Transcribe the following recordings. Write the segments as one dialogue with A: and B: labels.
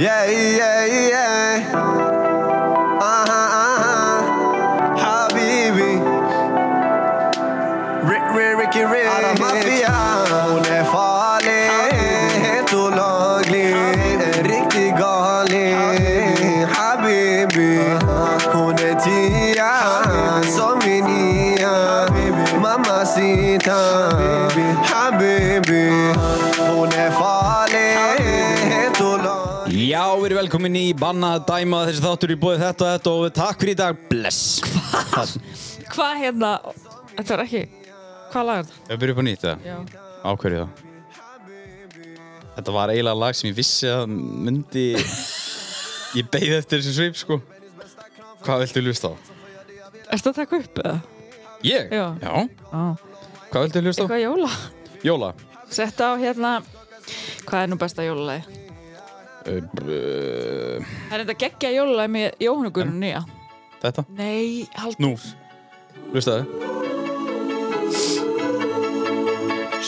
A: Yeah, yeah, yeah. Uh-huh, uh-huh. Habibi. Rick, Rick, Ricky, Rick. Alla maffian. Hon är farlig. Helt olaglig. En riktig galning. Habibi. Hon är Uh-huh. tia. Som min nia. Mamma sita. Habibi. Hon är farlig. Helt olaglig.
B: Já, við erum velkomin í Bannað Dæma þessi þáttur í búið þetta og þetta og takk fyrir í dag, bless Hvað?
C: Hvað hérna Þetta var ekki Hvað lag er þetta?
B: Ég byrja upp á nýtt það,
C: Já
B: á hverju þá? Þetta var eiginlega lag sem ég vissi að myndi Ég beigði eftir þessum svip, sko Hvað viltu hlusta á?
C: Ertu að taka upp eða?
B: Ég?
C: Já. Á
B: Hvað viltu hlusta á?
C: Eitthvað jóla
B: Jóla
C: Sett á hérna Hvað er nú besta jólalagi?
B: Uh, uh,
C: Það er þetta geggja jólalagi með Jóhannu Guðrún nýja
B: Þetta?
C: Nei, hald
B: Nú Hlustaðu?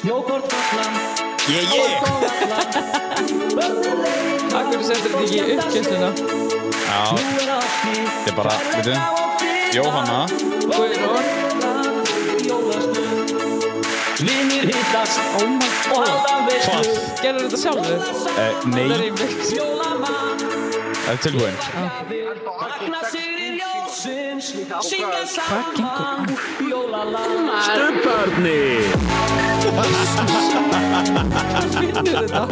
D: Snjókort fallan,
B: Yeah, yeah!
C: Akkur sendur þetta ekki í uppkjöfnuna
B: Já,
D: nú er allt nýtt.
B: þetta er bara, veitum Jóhanna
C: Guðrún
D: Jólasnöð Vinir hittast
C: Oh my
D: og
C: god
D: halda
B: Hvað?
D: veislu
C: Gerður þetta sjálfur?
B: Uh,
C: Það er
B: nei,
C: í mix
D: Jólamann
B: það er tilbúin
D: Vakna syrir ljósins Syngja
C: Hvað gengur?
D: saman Jólalag
C: finnur þetta?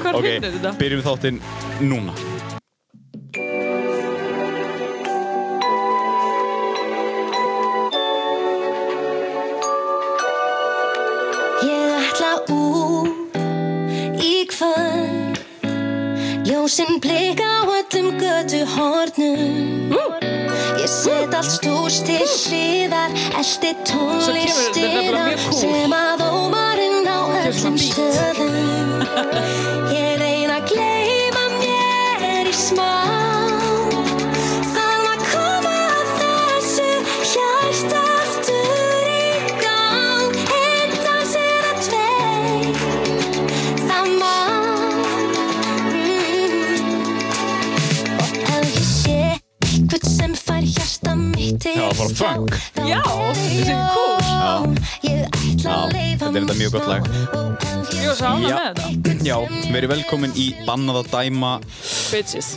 C: Hvar
B: Ok,
C: finnur þetta?
B: byrjum þáttinn núna
E: Ég ætla út í kvöld Ljósin blika á öllum götu hornum Ég set allt stús til hliðar Elti
C: Svo kemur þetta
E: tónlistina
C: nefnilega mjög kúl.
E: Sem að ómarinn á
C: Kemur svona
E: öllum
C: beat.
E: stöðum Ég reyna að gleyma mér í smá Þarf að koma að þessu hjarta aftur í gang. Hitta sér að tveir, það má. Mm. Og ef ég sé einhvern sem fær hjarta mitt til
B: Já,
E: að
B: bara
E: slá,
B: funk.
E: þá
C: Já,
E: er
C: þessi er
E: ég
C: cool.
E: jón. Ég ætla
B: Já,
E: að leyfa
B: þetta er þetta
E: mér
B: mjög gott lag.
E: smá. Og ef
C: Ég var
E: ég
C: svo ána
B: Já.
C: með þetta
B: Já, verið velkomin í Bannað að dæma
C: Bitches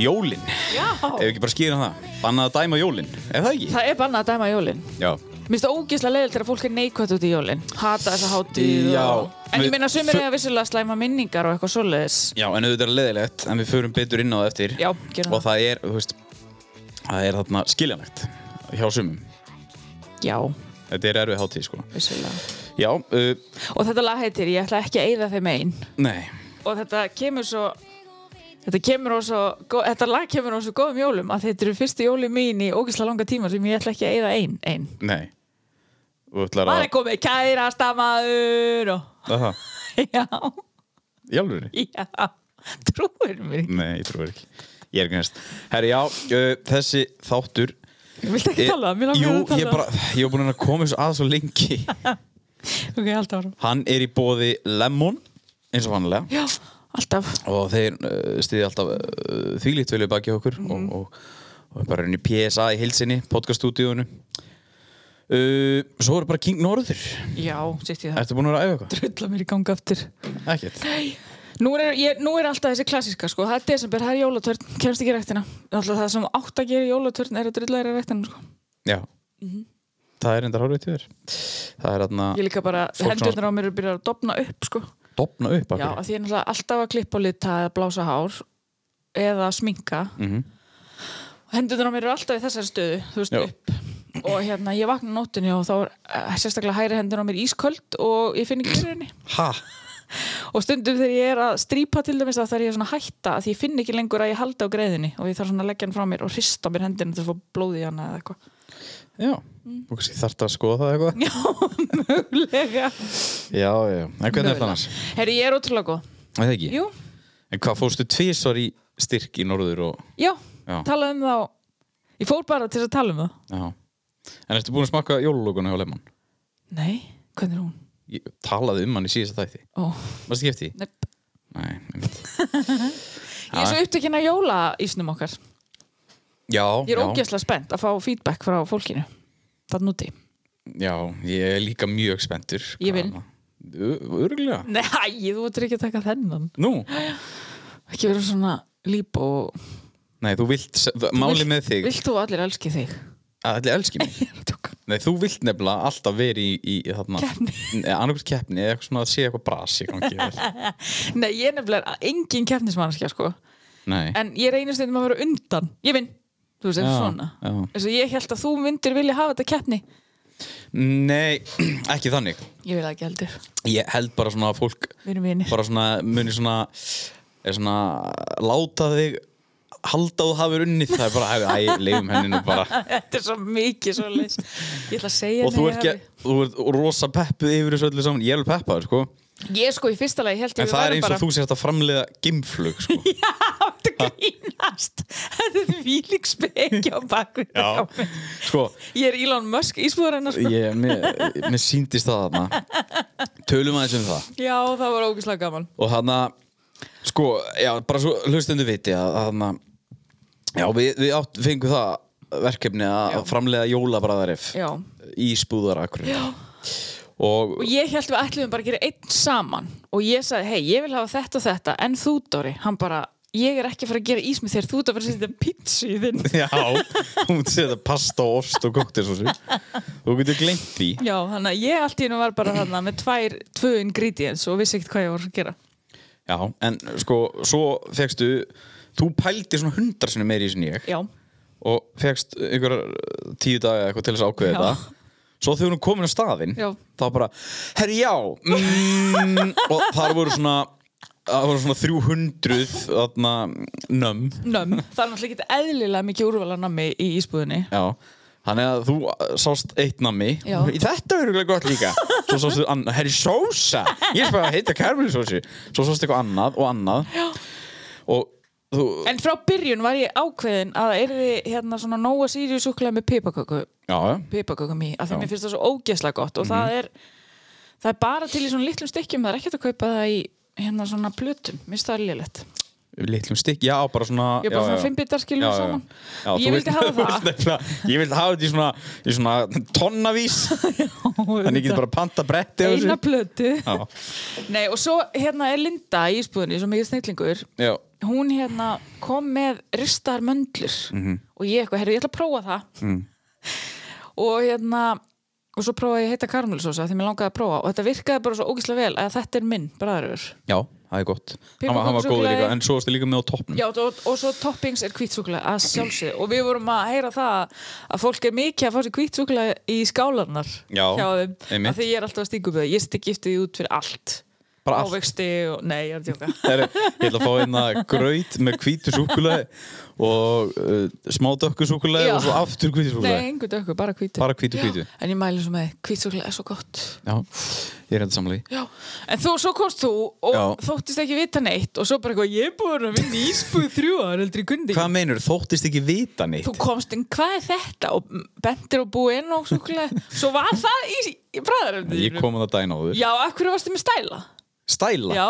B: jólin
C: Já
B: Ef ekki bara skýra það, Bannað að dæma jólin, er það ekki?
C: Það er bannað að dæma jólin
B: Já,
C: Mér finnst það ógeðslega leiðilegt þegar fólk er neikvætt út í jólin Hata þessa hátíð
B: Já.
C: og... En
B: Við-
C: ég meina sumir eiga vissulega slæma minningar og eitthvað svoleiðis
B: já en auðvitað er leðilegt en við förum betur inn á það eftir
C: Já, gerum
B: Og það er, þú veist, það er þarna skiljanlegt hjá sumum
C: Já,
B: Þetta er erfið hátíð, sko
C: vissulega
B: Já, uh,
C: Og þetta lag heitir Ég ætla ekki að eyða þeim einn
B: nei,
C: Og þetta kemur svo Þetta, kemur á svo, gó- þetta lag kemur á svo góðum jólum að þetta eru fyrstu jóli mín í ógeðslega langa tíma sem ég ætla ekki að eyða ein, ein.
B: nei Þú ætlar
C: Maður
B: að
C: er komið kærasta maður og...
B: að það
C: Já,
B: Jálfurinn?
C: já, trúir mér ekki.
B: Nei, ég trúi ekki Ég er ekki næst Herri, já, uh, þessi þáttur
C: Viltu ekki tala? Mér langar
B: Eh, Jú,
C: að tala.
B: ég bara, ég var búin að koma þessu að svo lengi
C: Ok, alltaf ára.
B: Hann er í bóði Lemon eins og vanlega
C: Já, alltaf.
B: og þeir uh, stiði alltaf uh, þvílíkt vilja baki okkur
C: Mhm.
B: og, og, og bara henni PSA í heilsinni podcaststúdíónu uh, Svo er bara King Norður
C: Já, sitt ég það.
B: Ertu búin að vera að æfa eitthvað?
C: Drulla mér í ganga aftur.
B: Ekkert
C: Nú er, ég, nú er alltaf þessi klassíska, sko. Það er desember, það er jólatörn, kemst ekki í rektina. Alltaf það sem átt að gera í jólatörn er að drulla þér í rektina, sko.
B: Já Það er endar hárið til þér Það er þarna
C: Mhm. Ég líka bara,
B: Fólk svona-
C: hendurnar á mér eru byrjað að dopna upp, sko.
B: dopna upp af
C: Já,
B: hverju.
C: að því ég er náttúrulega alltaf að klippa og lita eða blása hár eða sminka
B: Mhm.
C: og hendurnar á mér eru alltaf í þessari stöðu þú veist,
B: Já.
C: upp og hérna, ég vakna á nóttinni og þá er eh, sérstaklega hæri hendurnar á mér ísköld og ég finn ekki fyrir henni
B: Ha?
C: og stundum þegar ég er að strípa til dæmis þá þarf ég svona að hætta að því ég finn ekki lengur að ég halda á greiðinni og ég þarf svona að leggja hann frá mér og hrista á mér hendina til að fá blóð í hana eða eitthvað
B: Já, mm. þarft að skoða það eitthvað
C: Já, mögulega
B: Já, já, en hvernig er það annars?
C: Herri, ég er ótrúlega góð
B: Er Það ekki?
C: Jú,
B: En hvað fórstu tvisvar í styrk í norður og...
C: já,
B: Já.
C: talaðu um það á- Ég fór bara til þess að tala um það
B: Já. En ertu búin að smakka jólulókuna hjá Lemon?
C: Nei, hvernig er hún?
B: Ég talaði um hann í síðasta þætti.
C: Ó,
B: Varstu ekki eftir? því?
C: nepp
B: Nei, einmitt.
C: Ég er svo upptekinn að jóla ísnum okkar.
B: Já,
C: Ég er
B: já.
C: ógeðslega spennt að fá feedback frá fólkinu. Það núti.
B: Já, ég er líka mjög spenntur.
C: Ég vil.
B: Örgulega.
C: Nei, þú ert ekki að taka þennan.
B: Nú,
C: Ekki vera svona líp og...
B: nei, þú vilt, málið með þig,
C: Vilt þú að allir elski þig?
B: að allir elski mig.
C: Ég er að tóka.
B: Nei, þú vilt nefnilega alltaf verið í, í þarna,
C: Keppni.
B: annarkvæmt keppni eða eitthvað svona að sé eitthvað bras í gangi. þér.
C: Nei, ég er nefnilega engin keppnismannskja, sko.
B: Nei.
C: En ég reynir stundum að vera undan. Ég vinn. Þú veist,
B: Já,
C: eitthvað svona.
B: já.
C: Þess að ég held að þú myndir vilja hafa þetta keppni.
B: Nei, ekki þannig.
C: Ég vil það ekki heldur.
B: Ég held bara svona að fólk
C: Við erum vinir.
B: bara svona muni svona, er svona láta þig halda að þú hafur unnið. Það er bara, æ, æ, leifum henni nú bara.
C: Þetta er svo mikið svo leys. Ég ætla að segja
B: Og þú
C: henni
B: ert,
C: að-
B: ekki, þú ert rosa peppuð yfir þessu öllu saman. Ég er alveg peppaður, sko.
C: Ég sko í fyrsta lagi held ég
B: En
C: við
B: það er
C: værum
B: eins og
C: bara-
B: þú sért að framleiða gimflug, sko.
C: Þú grínast Þetta er vílík spekja á bakvið
B: Já. Sko,
C: Ég er Elon Musk ísbúðarinnar sko.
B: ég, mér, mér síndist það þarna. Tölum aðeins um það.
C: Já, það var ógislega gaman
B: og hann að sko, já, bara svo hlustundu viti að hann að já, við, við átt, fengum það verkefni að framleiða jólabræðarif
C: Já.
B: í spúðarakurinn og,
C: Og ég held við ætlum bara að gera einn saman Og ég sagði, hei, ég vil hafa þetta og þetta En þú, Dóri, hann bara Ég er ekki að fara að gera ís með þér, þú ert að fara að setja pizzu í þinn
B: já, hún myndi setja pasta og ost og koktisósu þú getur gleymt því
C: Já, þannig að ég allt í hennu var bara þarna með tvær, tvö ingredients og vissi ekkert hvað ég var að gera
B: já, en sko, svo fegstu þú pældi svona hundar sinni meiri í sinni ég
C: Já,
B: og fegst einhverjar uh, tíu daga eitthvað til þess að ákveða
C: Já.
B: þetta svo þegar hún er komin á staðinn
C: Já.
B: þá bara, herri já mm, og þar voru svona það voru svona 300 þarna, nömm
C: nömm Það er náttúrulega ekki eðlilega mikið úrvalanammi í ísbúðinni
B: já Þannig að þú uh, sást eitt nammi
C: Já.
B: Í Þetta er örugglega gott líka Svo sást þú annað, herri sósa Ég spæði að heita karmelisósi Svo sást eitthvað annað og annað já. Og þú,
C: En frá byrjun var ég ákveðin að það erði hérna svona Nóa Sirius súkulega með pipaköku,
B: já, já,
C: pipakökum í af því
B: Já. Mhm.
C: mér finnst það svo ógeðslega gott og það er það er bara til í svona litlum stykkjum það er ekkert að kaupa það í hérna svona plötum, mér finnst það lélegt
B: litlum stykk Já, bara svona
C: Ég er
B: já,
C: bara svona
B: já.
C: fimm bitar skilur
B: Já, já, já.
C: saman
B: Já,
C: Ég
B: þú
C: vildi
B: vilt-
C: hafa
B: þú vilt
C: það.
B: nefnilega- Ég vildi hafa þetta í svona, í svona tonnavís Þannig ég get bara panta bretti og
C: Eina
B: þessu.
C: plötu
B: Já.
C: Nei og svo hérna er Linda í ísbúðinni svo mikið snillingur
B: Já.
C: hún hérna kom með ristar möndlur
B: Mhm.
C: og ég eitthvað, herru, ég ætla að prófa það
B: Mm.
C: og hérna og svo prófaði ég heita karmelisósa því mér langaði að prófa og þetta virkaði bara svo ógíslega vel að þetta er minn, bræðarur
B: Já, það er gott Hann var, hann var góður
C: Piparkökusúkkulaði.
B: líka, en svo varstu líka með á toppnum
C: Já, og, og svo toppings er hvítsúkulega að sjálfsögðu og við vorum að heyra það að fólk er mikið að fá sér hvítsúkulega í skálarnar
B: Já,
C: hjá þeim
B: einmitt.
C: að því ég er alltaf að stinga upp það, ég seti giftið út fyrir allt
B: Bara allt.
C: ávegsti og, nei, ég er að tjóka
B: Herri, Ég ætla að fá einna graut með hvítu súkulega og uh, smá dökku súkulega
C: Já.
B: og svo aftur hvítu
C: Nei,
B: súkulega
C: engu dökku, bara hvítu
B: Bara hvítu, hvítu.
C: Já, En ég mæli svo með, hvítsúkulega er svo gott
B: Já, ég er hérna enda samlega
C: Já, en þú, svo komst þú og
B: Já.
C: þóttist ekki vita neitt og svo bara eitthvað, ég er búin að vinna í ísbúð í þrjú ára eldri gundi.
B: Hvað meinur, þóttist ekki vita neitt?
C: Þú komst inn, hvað er þetta? Og bentir og búinn og svo svo var það í, í bræðaröfnum.
B: Ég kom að það dæna á þér
C: Já, af hverju varstu með stæla?
B: Stæla,
C: Já,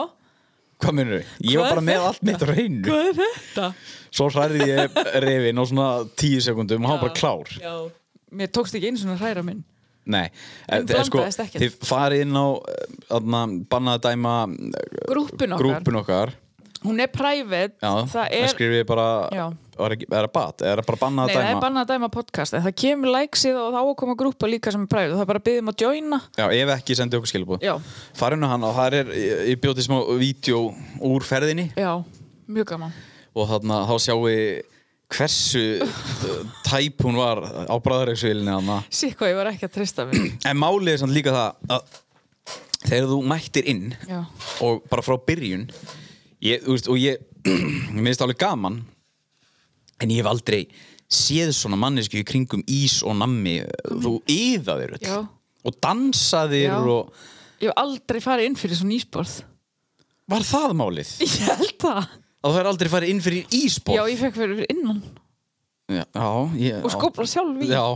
B: hvað meinur? Ég
C: Hvað
B: var
C: er
B: bara með
C: þetta?
B: allt mitt á hreinu
C: hvað er þetta?
B: Svo hræði ég reyfin á svona tíu sekundum og hann var bara klár.
C: Já, mér tókst ekki eins og hræra minn.
B: Nei,
C: En
B: eh,
C: blandaðist ekkert.
B: þið farið inn á aðna, bannað að dæma
C: Grúppun okkar,
B: grúpun okkar.
C: hún er private,
B: Já,
C: það er...
B: skrifið bara,
C: Já.
B: er, ekki- er það bat, er það bara bannað
C: Nei,
B: að
C: það er
B: dæma?
C: bannað að dæma podcast en það kemur likesið og þá á að koma grúpa líka sem er private það er bara að byggja um að joina
B: Já, ef ekki sendi okkur skilabóð.
C: Já.
B: Farinu hann og það er, ég- ég bjóti smá vídeo úr ferðinni
C: Já, mjög gaman
B: og þarna þá sjáum við hversu eh, tæp hún var á bræðareiksvílinni hann að
C: Sýk hvað ég var ekki að treysta mér
B: En málið er samt líka það að þegar þú mættir inn
C: Já.
B: og bara frá byrjun ég, þú veist, og ég mér finnst alveg gaman en ég hef aldrei séð svona mannesku í kringum ís og nammi þú yðaðir öll
C: Já.
B: og dansaðir
C: Já.
B: og
C: Ég hef aldrei farið inn fyrir svona ísborð
B: var það málið?
C: Ég held það
B: Að þú hefur aldrei farið inn fyrir ísbóð?
C: Já, ég fekk fyrir innan
B: Já, já, ég,
C: og skópla sjálf í
B: Já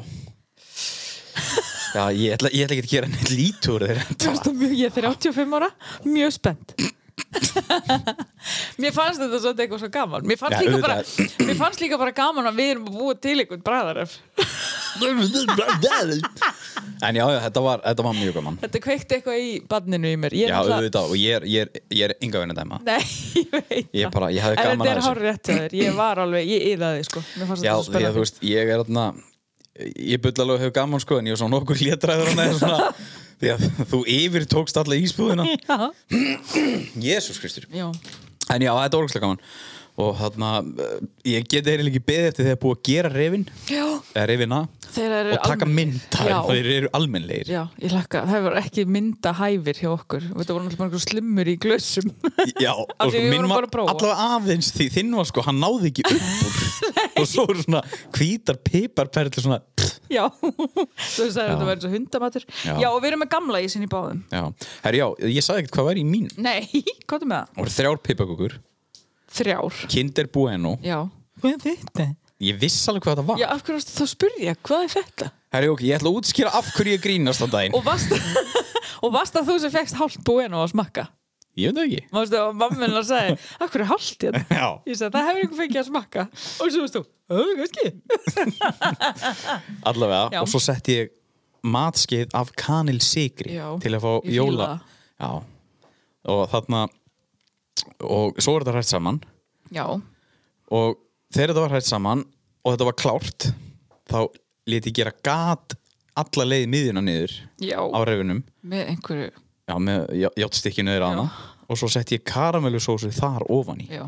B: Já, ég ætla, ég ætla ekki að gera neitt lítur þeir
C: Þú veist það mjög, Ég er 35 ára, mjög spennt Mér fannst þetta svolítið eitthvað svo gaman Mér fannst,
B: Já,
C: líka bara,
B: auðvitað.
C: mér fannst líka bara gaman að við erum að búa til einhvern bræðaref
B: en já, já, þetta var, þetta var mjög gaman
C: Þetta kveikti eitthvað í badninu í mér Ég er
B: já,
C: náttúrulega-
B: auðvitað, og ég er, ég er, ég er enga vinna dæma
C: Nei, ég veit
B: Ég
C: það.
B: bara- ég hafði
C: En
B: gaman að
C: þetta er
B: þessu.
C: hár rétt hjá þér Ég var alveg, ég yðaði sko Mér fannst
B: já,
C: þetta svo
B: því að
C: spennandi
B: þú veist, ég er þarna ég bull alveg að hafa gaman sko en ég var svona nokkur létræður hann eða svona því að þú yfir tókst alla ísbúðina
C: Já,
B: Jésús Kristur
C: já,
B: En já, þetta er orðslega gaman Og þarna, eh, ég geti eiginlega ekki beðið eftir þegar búið að gera reyfin
C: já.
B: Eða reyfina
C: Þeir
B: Og
C: eru
B: taka
C: almennilegir.
B: mynd af
C: Já.
B: þeim, Þeir eru almennlegir
C: Já, ég hlakka, það hefur ekki mynda hæfir hjá okkur og þetta voru náttúrulega bara einhver slimmur í glössum
B: Já, og
C: Af því við
B: minn
C: vorum
B: var
C: bara að prófa.
B: allavega aðeins því þinn var sko, hann náði ekki upp úr og svo eru svona hvítar piparperli svona pff,
C: Já, þú sagði að þetta væri svo hundamatur já.
B: Já.
C: og við erum með gamla í sinni báðum
B: Já, herri já, ég sagði ekkert hvað væri í mín
C: Nei, hvað er með það?
B: Það voru þrjár piparkukur,
C: Þrjár
B: Kinder Bueno
C: Já,
B: Hvað er þetta? Ég viss alveg hvað þetta var
C: já af hverju varstu þá að spyrja, hvað er þetta?
B: Herri ok, ég ætla að útskýra af hverju ég grínast á daginn
C: Og varst, og varst að þú sem fekkst hálft búin og að smakka
B: Ég veit það ekki
C: Mástu að mamma minna sagði, af hverju er hálft hérna?
B: Já.
C: Ég sagði, það hefur einhver fengið að smakka og svo veist þú, "Ö, kannski
B: allavega
C: Já.
B: og svo setti ég matskeið af kanilsikri
C: Já,
B: til að fá
C: ég fíla
B: jóla
C: það.
B: já. og þarna og svo er þetta hrætt saman
C: Já,
B: og þegar þetta var hrætt saman og þetta var klárt þá lét ég gera gat alla leið miðjuna niður
C: Já.
B: á refunum
C: með einhverju,
B: já, með játstikkinu niður aðna og svo setti ég karamellusósu þar ofan í
C: já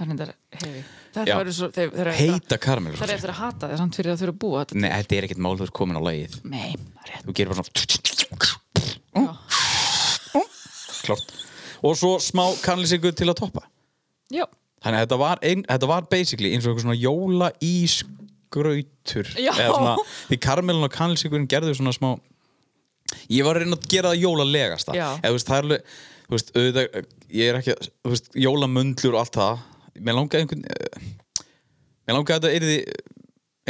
C: Þannig þetta er hefi Þetta
B: Já.
C: verður svo, þeir, þeir,
B: heita
C: Það er
B: karamellusósu
C: eftir að hata þér samt fyrir að þurfa að búa þetta
B: Nei, þetta er ekkert mál, þú ert komin á lagið
C: Nei, rétt
B: þú gerir bara svona klart og svo smá kannlýsingu til að toppa
C: Já,
B: þannig að þetta var, ein, þetta var basically eins og einhver svona jóla ísgrautur
C: Já.
B: svona, því karmelun og kannlýsingurinn gerðu svona smá ég var að reyna að gera það jólalegasta
C: Já.
B: eða þú veist, það er alveg þú veist, auðvitað, ég er ekki að þú veist, jólamöndlur og allt það mér langaði einhvern eh, mér langaði að þetta yrði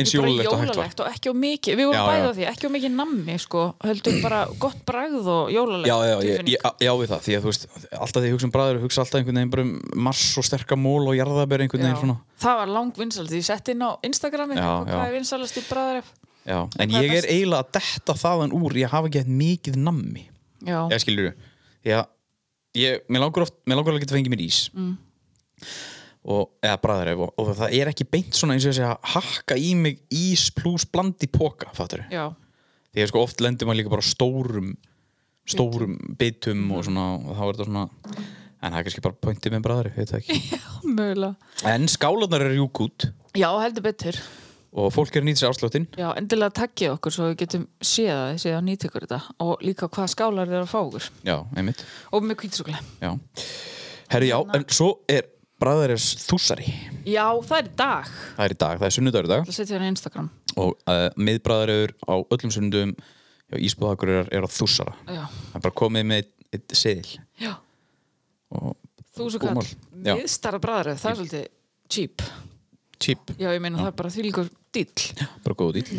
B: eins
C: bara
B: jólalegt og hægt var
C: jólalegt og ekki á mikið Við vorum
B: Já, já.
C: bæðið á því, ekki á mikið nammi sko, heldur bara gott bragð og jólalegt sko.
B: já, já, ég,
C: tilfinning.
B: ég, ég á við það því að þú veist, alltaf því ég hugsa um bræður hugsa alltaf einhvern veginn bara um mars og sterka mól og jarðabær einhvern veginn svona
C: Það var lang vinsald, ég sett inn á Instagrami
B: Já,
C: og hvað
B: já.
C: er vinsalast í bræðaref
B: já. en
C: Hvað er
B: ég er
C: best?
B: eiginlega að detta þaðan úr ég hafa ekki hægt mikið nammi
C: Já,
B: ég skilur þú því að ég, mér langar oft, mér langar alveg að fengi mér ís mm. og, eða bræður og, og það er ekki beint svona eins og þessi að hakka í mig ís pluss blandi póka, fattur
C: já,
B: því að sko oft lendur maður líka bara á stórum stórum bitum og svona og þá er þetta svona en það er kannski bara pointið með bræðari, veit það ekki
C: mögulega
B: En skálanar eru júk út
C: Já, heldur betur
B: og fólk er að nýta sér afsláttinn.
C: Já, endilega takkið okkur svo við getum séð að þið séð að nýta ykkur þetta og líka hvað skálar þeir að fá okkur
B: Já, einmitt.
C: og með kvítisuglega
B: Já. Herri, já,
C: Hérna.
B: en svo er bræðarins þúsari.
C: Já, það er í dag Það
B: Það er í dag, það er sunnudagur í dag
C: setja hann á Instagram
B: og uh, miðbræðaröður á öllum sunnudum já, Ísbúðakurir er á þúsara.
C: Já,
B: Það er bara komið með eitt, eitt seðil.
C: já
B: Og
C: Þúsu
B: Búmál.
C: kall,
B: Já.
C: miðstara bræðrið, það er svolítið cheap.
B: típ,
C: Já, ég meina það er bara þvílíkur dýll.
B: bara góð dýl.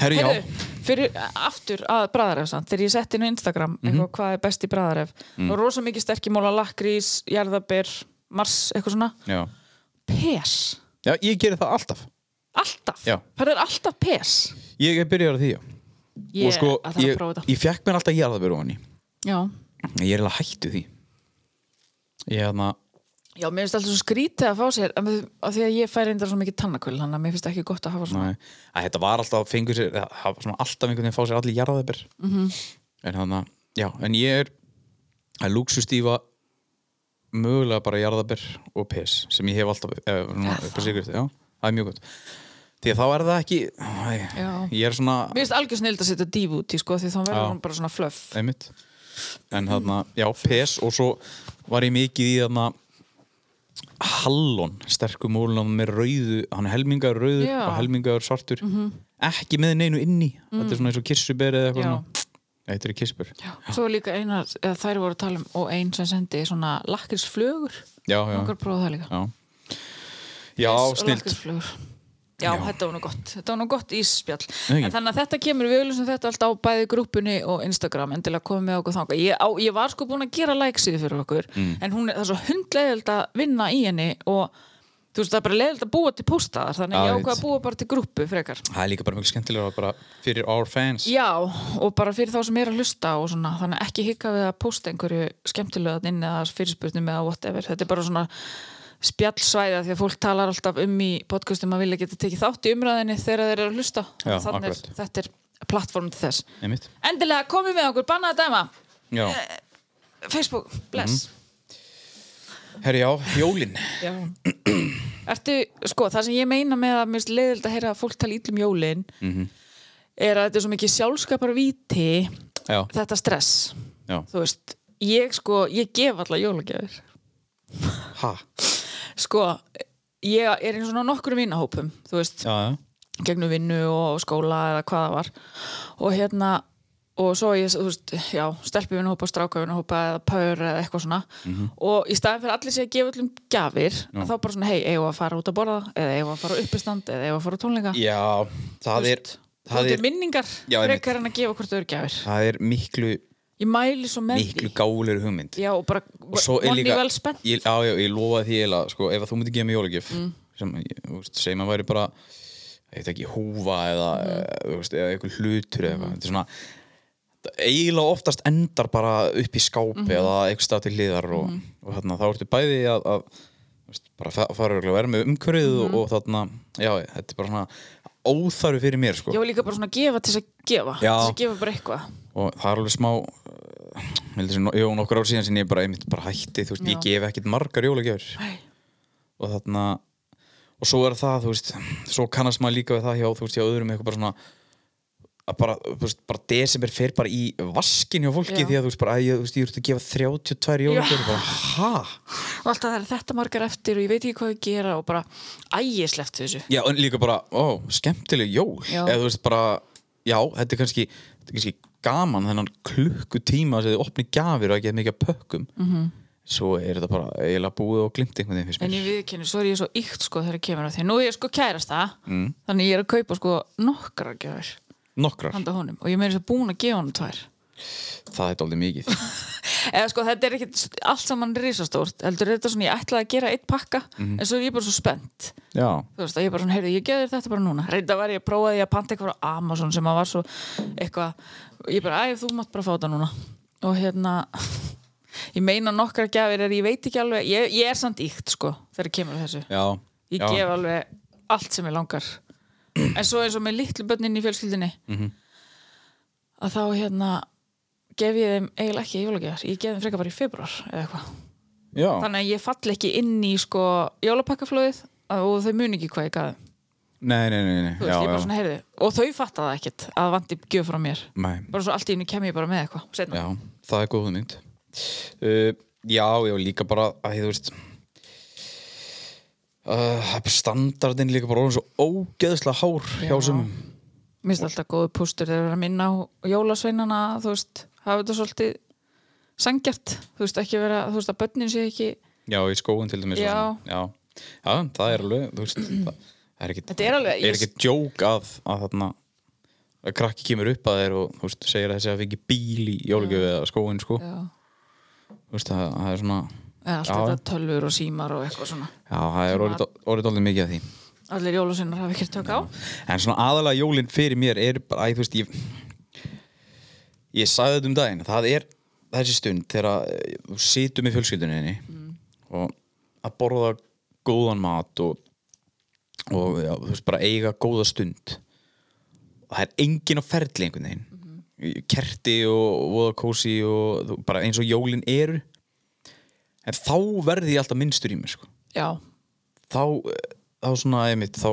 B: Herri, já.
C: Heyrðu, fyrir aftur að bræðref samt, þegar ég sett inn á Instagram
B: Mhm.
C: eitthvað hvað er best í bræðref, mm. og rosa mikið sterkimóla, lakrís, jarðaber, mars, eitthvað svona,
B: já.
C: pes.
B: Já, ég gerir það alltaf.
C: Alltaf.
B: Já.
C: Það er alltaf pes.
B: Ég er byrjar að því, já.
C: Ég,
B: og sko,
C: að það er að
B: ég,
C: prófa þetta.
B: ég fekk mér alltaf jarðabur ofan í.
C: Já.
B: Ég er eiginlega hættu því. Ég er þarna,
C: Já, mér finnst alltaf svo skrítið að fá sér, af því- af því að ég fær reyndar svo mikið tannakvöld, þannig að mér finnst ekki gott að hafa svona.
B: Nei, að þetta var alltaf fengur sér, eða það var svona alltaf einhvern veginn að fá sér allir jarðabir
C: Mhm.
B: en þannig að, já, en ég er að lúksustífa mögulega bara jarðabir og pes sem ég hef alltaf, eða, svona, upp á sigrið já, það er mjög gott því að þá er það ekki, æ,
C: Já.
B: ég er svona
C: Mér finnst algjör snild að setja díf út í, sko, því þá verður
B: Já.
C: hún bara svona flöff.
B: einmitt en þannig að, já, pes og svo var ég mikið í þannig að Hallon, sterkum múlunum með rauðu, hann er helmingaður rauður
C: Já. Mhm.
B: og helmingaður svartur ekki með neinu inni, þetta er svona eins og kirsuber eða eitthvað
C: Mm. Já.
B: svona Nei, þetta er kirsuber já,
C: Svo er líka einar, eða þær voru að tala um og einn sem sendi svona lakkisflögur
B: já,
C: Okkar prófa það líka
B: já, já
C: Pes og
B: snilt
C: lakkrísflögur. Já,
B: Já.
C: þetta var nú gott, þetta var nú gott ísspjall
B: Nei, ekki.
C: en þannig að þetta kemur, við viljum sem þetta alltaf á bæði grúppunni og Instagram en til að koma með okkur þangað ég, á, ég var sko búin að gera læksíðu fyrir okkur
B: Mm.
C: en hún er, það er svo hundlegjöld að vinna í henni og þú veist það er bara leiðild að búa til póstaðar þannig
B: Já,
C: að
B: ég
C: ég ákvað
B: veit.
C: að búa bara til grúppu frekar
B: Það er líka bara mjög skemmtilega bara fyrir our fans
C: Já, og bara fyrir þá sem er að hlusta og svona, þannig að ekki hika við að posta einhverju skemmtilegan inn eða fyrirspurnum eða whatever, þetta er bara svona spjallsvæða því að fólk talar alltaf um í podcastum að vilja geta tekið þátt í umræðinni þegar þeir eru að hlusta
B: Já,
C: Þannig er,
B: akkurat.
C: þetta er plattform til þess
B: Einmitt.
C: Endilega komið með okkur, bannað að dæma
B: Já,
C: Facebook, bless
B: herri já, jólin
C: Já Ertu, sko, það sem ég meina með að mér finnst leiðild að heyra að fólk tala ítlum jólin
B: Mhm.
C: er að þetta er svo mikið sjálfskapar
B: Já,
C: þetta stress
B: já,
C: þú veist, ég sko, ég gef alla jólagjafir.
B: ha
C: Sko, ég er eins og nokkur vinahópum, þú veist,
B: Já, já,
C: gegnum vinnu og skóla eða hvað það var. Og hérna, og svo ég, þú veist, já, stelpi vinahópa, stráka vinahópa eða pör eða eitthvað svona.
B: Mhm.
C: Og í staðin fyrir allir sé að gefa öllum gjafir, að þá bara svona, hei, eigum við að fara út að borða, eða eigum við að fara á uppistand, eða eigum við að fara á tónleika.
B: já það er
C: Það
B: það
C: er
B: er,
C: minningar
B: Já, einmitt.
C: frekar en að gefa hvort öðru gjafir.
B: það er miklu,
C: Ég mæli svo með
B: miklu
C: því.
B: gálir hugmynd
C: Já, og bara
B: og svo er
C: vonni
B: líka
C: vel spennt. Mm.
B: ég, já, já, ég lofaði því eiginlega, sko, ef að þú myndir gefa mig jólagjöf sem, ég, þú veist, segjum að væri bara ég veit ekki, húfa eða, mm. veist, eða eitthvað hlutur eða eitthvað,
C: Mm.
B: þetta er svona þetta eiginlega oftast endar bara upp í skápi
C: Mhm.
B: eða eitthvað stað til hliðar og, og þarna, þá ertu bæði að, að þú veist, bara fa- fara örugglega að vera með umhverfið og,
C: Mhm.
B: og þarna, já, þetta er bara svona óþarfi fyrir mér, sko
C: Ég var líka bara svona að gefa til þess að gefa til
B: Já.
C: þess að gefa bara eitthvað
B: og það er alveg smá eh, Jó, nokkur ár síðan sem ég bara, einmitt bara hætti þú veist, ég
C: Já.
B: gef ekkert margar jólagjafir
C: Æ,
B: og þarna og svo er það, þú veist, svo kannast maður líka við það hjá, þú veist, hjá öðrum eitthvað bara svona að bara, þú veist, bara desember fer bara í vaskin hjá fólki
C: Já.
B: því að þú veist, bara, að ég, þú veist, ég ertu að gefa 32 jólagjörn, bara, ha?
C: Og alltaf það er þetta margar eftir og ég veit ekki hvað ég gera og bara ægisleft þessu
B: Já, en líka bara, ó, skemmtileg jól
C: Já.
B: eða þú veist, bara, já, þetta er kannski, þetta er kannski gaman þennan klukkutíma sem þið opni gjafir og ekki eða mikið af pökkum -hmm. svo er þetta bara eiginlega búið og glimt einhvern veginn fyrst
C: Mhm. En
B: mér
C: ég viðkynni, svo er ég svo ykt sko þegar ég kemur að því Nú er ég sko kærast það
B: Mm.
C: Þannig ég er að kaupa sko nokkra gefur
B: nokkrar,
C: handa honum og ég meiri svo búin að gefa honum tvær
B: það er dálítið mikið
C: Eða sko þetta er ekkit allt saman risastórt heldur er þetta svona ég ætlaði að gera eitt pakka
B: Mhm.
C: en svo er ég bara svo spennt
B: já,
C: þú veist, að ég bara svona, heyrðu, ég geði þetta bara núna reynda var ég að prófa því að panta eitthvað á Amazon sem að var svo eitthvað ég bara, æ, þú mátt bara fá þetta núna og hérna ég meina nokkra gjafir er, ég veit ekki alveg ég, ég er samt íkt, sko, þegar ég kemur að þessu
B: já
C: ég
B: já.
C: gef alveg allt sem ég langar en svo eins og með litlu börnin í fjölskyldinni
B: Mhm.
C: að þá hérna gef ég þeim eiginlega ekki jólagjafar ég gef þeim frekar bara í februar eða eitthvað
B: já.
C: þannig að ég fall ekki inn í sko jólapakkaflóðið og þau muni ekki hvað ég gaf þeim
B: Nei, nei, nei, nei.
C: Þú veist, ég bara svona heyrði og þau fatta það ekkert að það vanti gjöf frá mér
B: Nei,
C: bara svo allt í einu kem ég bara með eitthvað seinna.
B: já, það er góð hugmynd uh, Já, já, líka bara að þú veist uh, standardin líka bara orðin svo ógeðslega hár hjá
C: Já.
B: sumum
C: Mér finnst alltaf góðu pústur þegar það minna á jólasveinana þú veist, hafa þetta svolítið sangjart, þú veist ekki vera þú veist að börnin sé ekki
B: Já, í skóin til dæmis og
C: Já.
B: svona. já. já, það er alveg þú veist, það það er ekki,
C: Þetta er alveg- ég-
B: ekki djók að, að þarna að krakki kemur upp að þér og þú veist, segir að þessi að fengi bíl í jólugjöf eða skóin sko,
C: já,
B: þú veist, það, það er svona
C: eða allt
B: Já.
C: þetta tölfur og símar og eitthvað svona
B: já, það er orðið orðið dálítið mikið af því
C: allir jólasveinar hafa ekkert tök á
B: En svona aðalega jólinn fyrir mér er bara, æ, þú veist, ég ég sagði þetta um daginn, það er þessi stund þegar eh, þú situm í fjölskylduninni og að borða góðan mat og, og já, þú veist, bara eiga góða stund það er engin á ferli einhvern veginn kerti og voða kósi og þú- bara eins og jólin eru en þá verði ég alltaf minnstur í mér sko
C: já,
B: þá, þá svona einmitt þá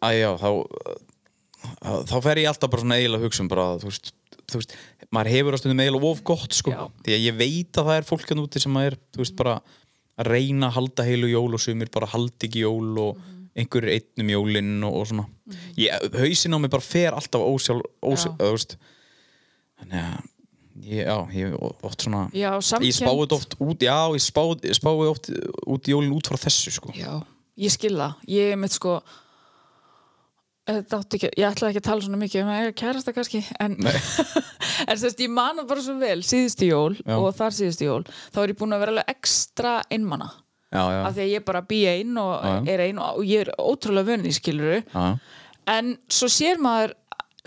B: að já, þá að, þá fer ég alltaf bara svona eiginlega að hugsa um bara, þú veist, þú veist maður hefur á stundum eiginlega of gott sko
C: Já.
B: því að ég veit að það er fólk hann úti sem er þú veist, bara að reyna að halda heilu jól og sumir bara haldi ekki jól og mm
C: Mhm.
B: -hmm. einhverjir einnum jólinn og, og svona ég, hausinn á mig bara fer alltaf ósjálf, ósjálf þú veist þannig að ég, já, ég oft svona
C: Já,
B: ég spáði þetta oft út já, ég spáði, spáði oft út í jólinn út frá þessu sko
C: já, ég skil það ég er mitt sko Þetta átti ekki, ég ætlaði ekki að tala svona mikið um að ég er kærasta kannski en, en sérst, ég man það bara svo vel síðustu jól
B: Já.
C: og þar síðustu jól þá er ég búin að vera alveg ekstra einmana
B: já, já,
C: af því að ég bara bý ein og
B: Já, já.
C: er ein og, og ég er ótrúlega vunni skiluru
B: já,
C: en svo sér maður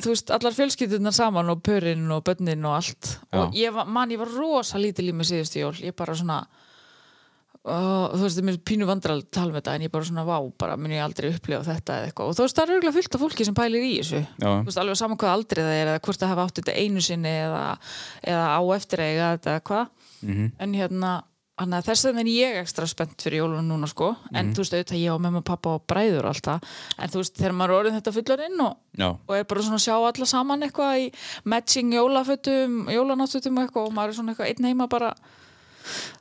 C: þú veist, allar fjölskyldunar saman og pörinn og bönnin og allt
B: Já.
C: og ég var, man, ég var rosa lítil í mig síðustu jól ég bara svona og þú veist, það er mér pínu vandral tala með þetta en ég bara svona, vá, bara mun ég aldrei upplifa þetta eða eitthvað og þú veist, það er örgulega fullt af fólki sem pælir í þessu
B: Já.
C: þú veist, alveg saman hvað aldrei það er eða hvort það hafa átt þetta einu sinni eða, eða á eftir að eiga þetta eða hvað -hmm. en hérna, hann að þess vegna er ég ekstra spennt fyrir jólun núna sko en þú veist, auðvitað ég og mamma, pappa og bræður og allt það, en þú veist, þegar maður er orðin þetta fullorinn og
B: já,
C: og er bara svona að sjá alla saman eitthvað í matching jólafötum, jólanáttfötum og eitthvað og maður er svona eitthvað einn heima bara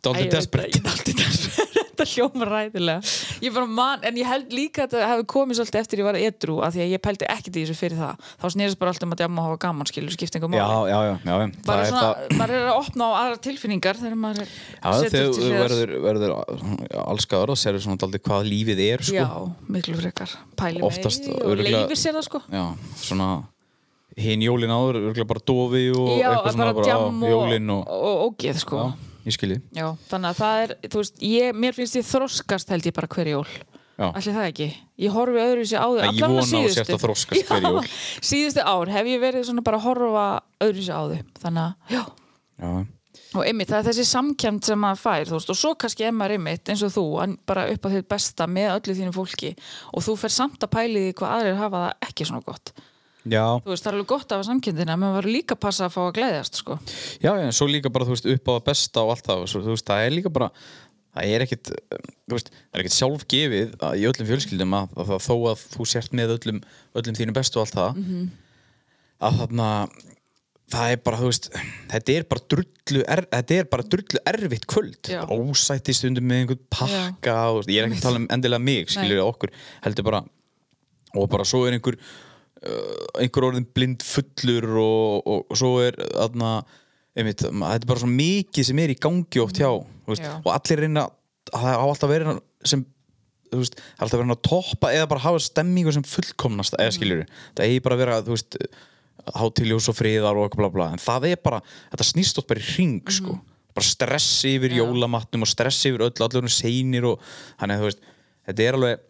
B: dálítið desperate
C: Daldi desperate, þetta hljóma ræðilega Ég bara man, en ég held líka að þetta hefði komið svolítið eftir ég var edru að því að ég pældi ekkert í þessu fyrir það Þá snerist bara allt um að djamma og hafa gaman skilur skiptingum
B: já, já, já, já, já.
C: Bara
B: er
C: svona, maður er að opna á aðra tilfinningar þegar maður er
B: Já,
C: setur
B: þegar
C: til
B: þú
C: hliðar.
B: verður, verður allskaður og serður svona daldið hvað lífið er sko.
C: Já, miklu frekar, pæli
B: Oftast
C: mig og
B: örugglega-
C: leifir sér það sko
B: Já, svona hinn jólin áður, örgulega bara dofi og
C: Já,
B: eitthvað svona
C: bara djamm
B: á,
C: og,
B: jólin og,
C: og, og ógeð sko
B: Já, ég skilji
C: Já, þannig að það er, þú veist, ég, mér finnst ég þroskast held ég bara hver jól
B: Já.
C: Allir það ekki, ég horfi öðruvísi á þau
B: Ég
C: allavega
B: vona að þú sért
C: síðustu-
B: að þroskast hver
C: Já,
B: jól.
C: Síðustu ár hef ég verið svona bara að horfa öðruvísi á þau Þannig að, já,
B: Já,
C: og einmitt, það er þessi samkjönd sem maður fær, þú veist Og svo kannski er maður einmitt, eins og þú, en bara upp á þitt besta með öllu þínu fólki Og þú fer samt að pæli því hvað aðrir hafa það ekki svona gott
B: já
C: Þú veist, það er alveg gott að hafa samkjöndina, menn maður verður líka að passa að fá að gleðjast, sko
B: Já, já, en svo líka bara, þú veist, upp á það besta og allt það, svo, þú veist, það er líka bara það er ekkit, um, þú veist, það er ekkit sjálfgefið að, í öllum fjölskyldum að, að, að þó að þú sért með öllum, öllum þínu bestu og allt það að þarna það er bara, þú veist, þetta er bara drullu, er, þetta er bara drullu erfitt kvöld,
C: Já.
B: ósætti stundum með einhvern pakka, og, þú veist, ég er ekki að tala um endilega mig, skilur okkur, heldur bara og bara svo er einhver uh, einhver orðin blind fullur og, og, og svo er aðna, einmitt, ma- þetta er bara svo mikið sem er í gangi oft hjá þú veist,
C: Já.
B: og allir reyna að það á alltaf verið sem þú veist, það er alltaf verið að toppa eða bara hafa stemmingu sem fullkomnast eða skiljur, það eigi bara að vera þú veist, hátiljós og friðar og eitthvað bla bla en það er bara, þetta snýst oft bara í ring sko, bara stress yfir jólamatnum og stress yfir öll, allir hún seinir og þannig að þú veist, þetta er alveg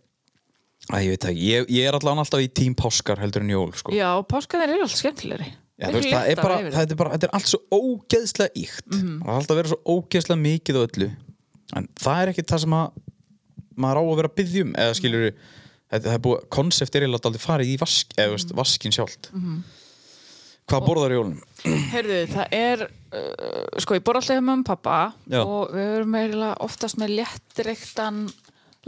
B: Æ, ég veit það, ekki. ég, ég er allan alltaf í tím páskar heldur en jól, sko.
C: Já, páskaðir eru alltaf skemmtilegri
B: Já, þú veist, það er bara, það er bara, þetta er allt svo ógeðslega íkt.
C: Mhm.
B: Það er alltaf að vera svo ógeðslega mikið á öllu. En það er ekki það sem að maður á að vera að byggja um, eða skilur við, það er búið, konsept er eiginlega aldrei farið í vask, eða, veist,
C: Mhm.
B: vaskin sjálft. Hvað borðar í jólum?
C: Heyrðu, það er, uh, sko, ég bor alltaf hjá mömmu og pappa
B: Já.
C: og við erum eiginlega oftast með léttreiktan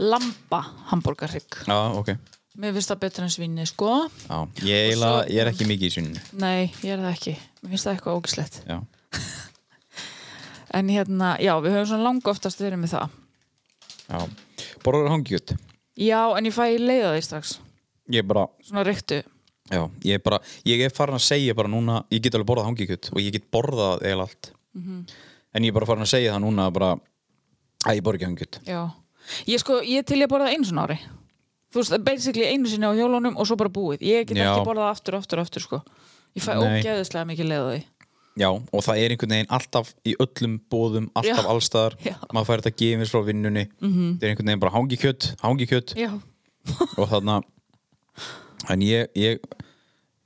C: lamba hambúrgarrygg.
B: Já, ok.
C: Mér finnst það betra en svinni, sko.
B: Já, ég, eiginlega,
C: svo-
B: ég er ekki mikið í sunni.
C: Nei, ég er það ekki. Mér finnst það eitthvað ógislegt.
B: Já,
C: En hérna, já, við höfum svona langa oftast verið með það.
B: já. Borðar hangjöt?
C: Já, en ég fæ leiða því strax.
B: Ég bara,
C: Svona reyktu.
B: Já, ég er bara, ég er farin að segja bara núna, ég get alveg borðað hangikjöt og ég get borðað eiginlega allt
C: Mhm.
B: en ég er bara farin að segja það núna að bara, að ég borð ekki hangikjöt
C: Já. Ég sko, ég er til ég að borða það einu svona ári. Þú veist, basically einu sinni á hjólunum og svo bara búið. Ég get
B: Já.
C: ekki borðað aftur, aftur, aftur, sko. Ég fæ
B: Nei.
C: ógeðislega mikið leiða því.
B: Já, og það er einhvern veginn alltaf í öllum bóðum, alltaf
C: Já.
B: allstaðar
C: Já. Mhm.
B: maður fær þetta gefins frá vinnunni -hmm. það er einhvern veginn bara hangikjöt, hangikjöt
C: Já.
B: og þarna en ég, ég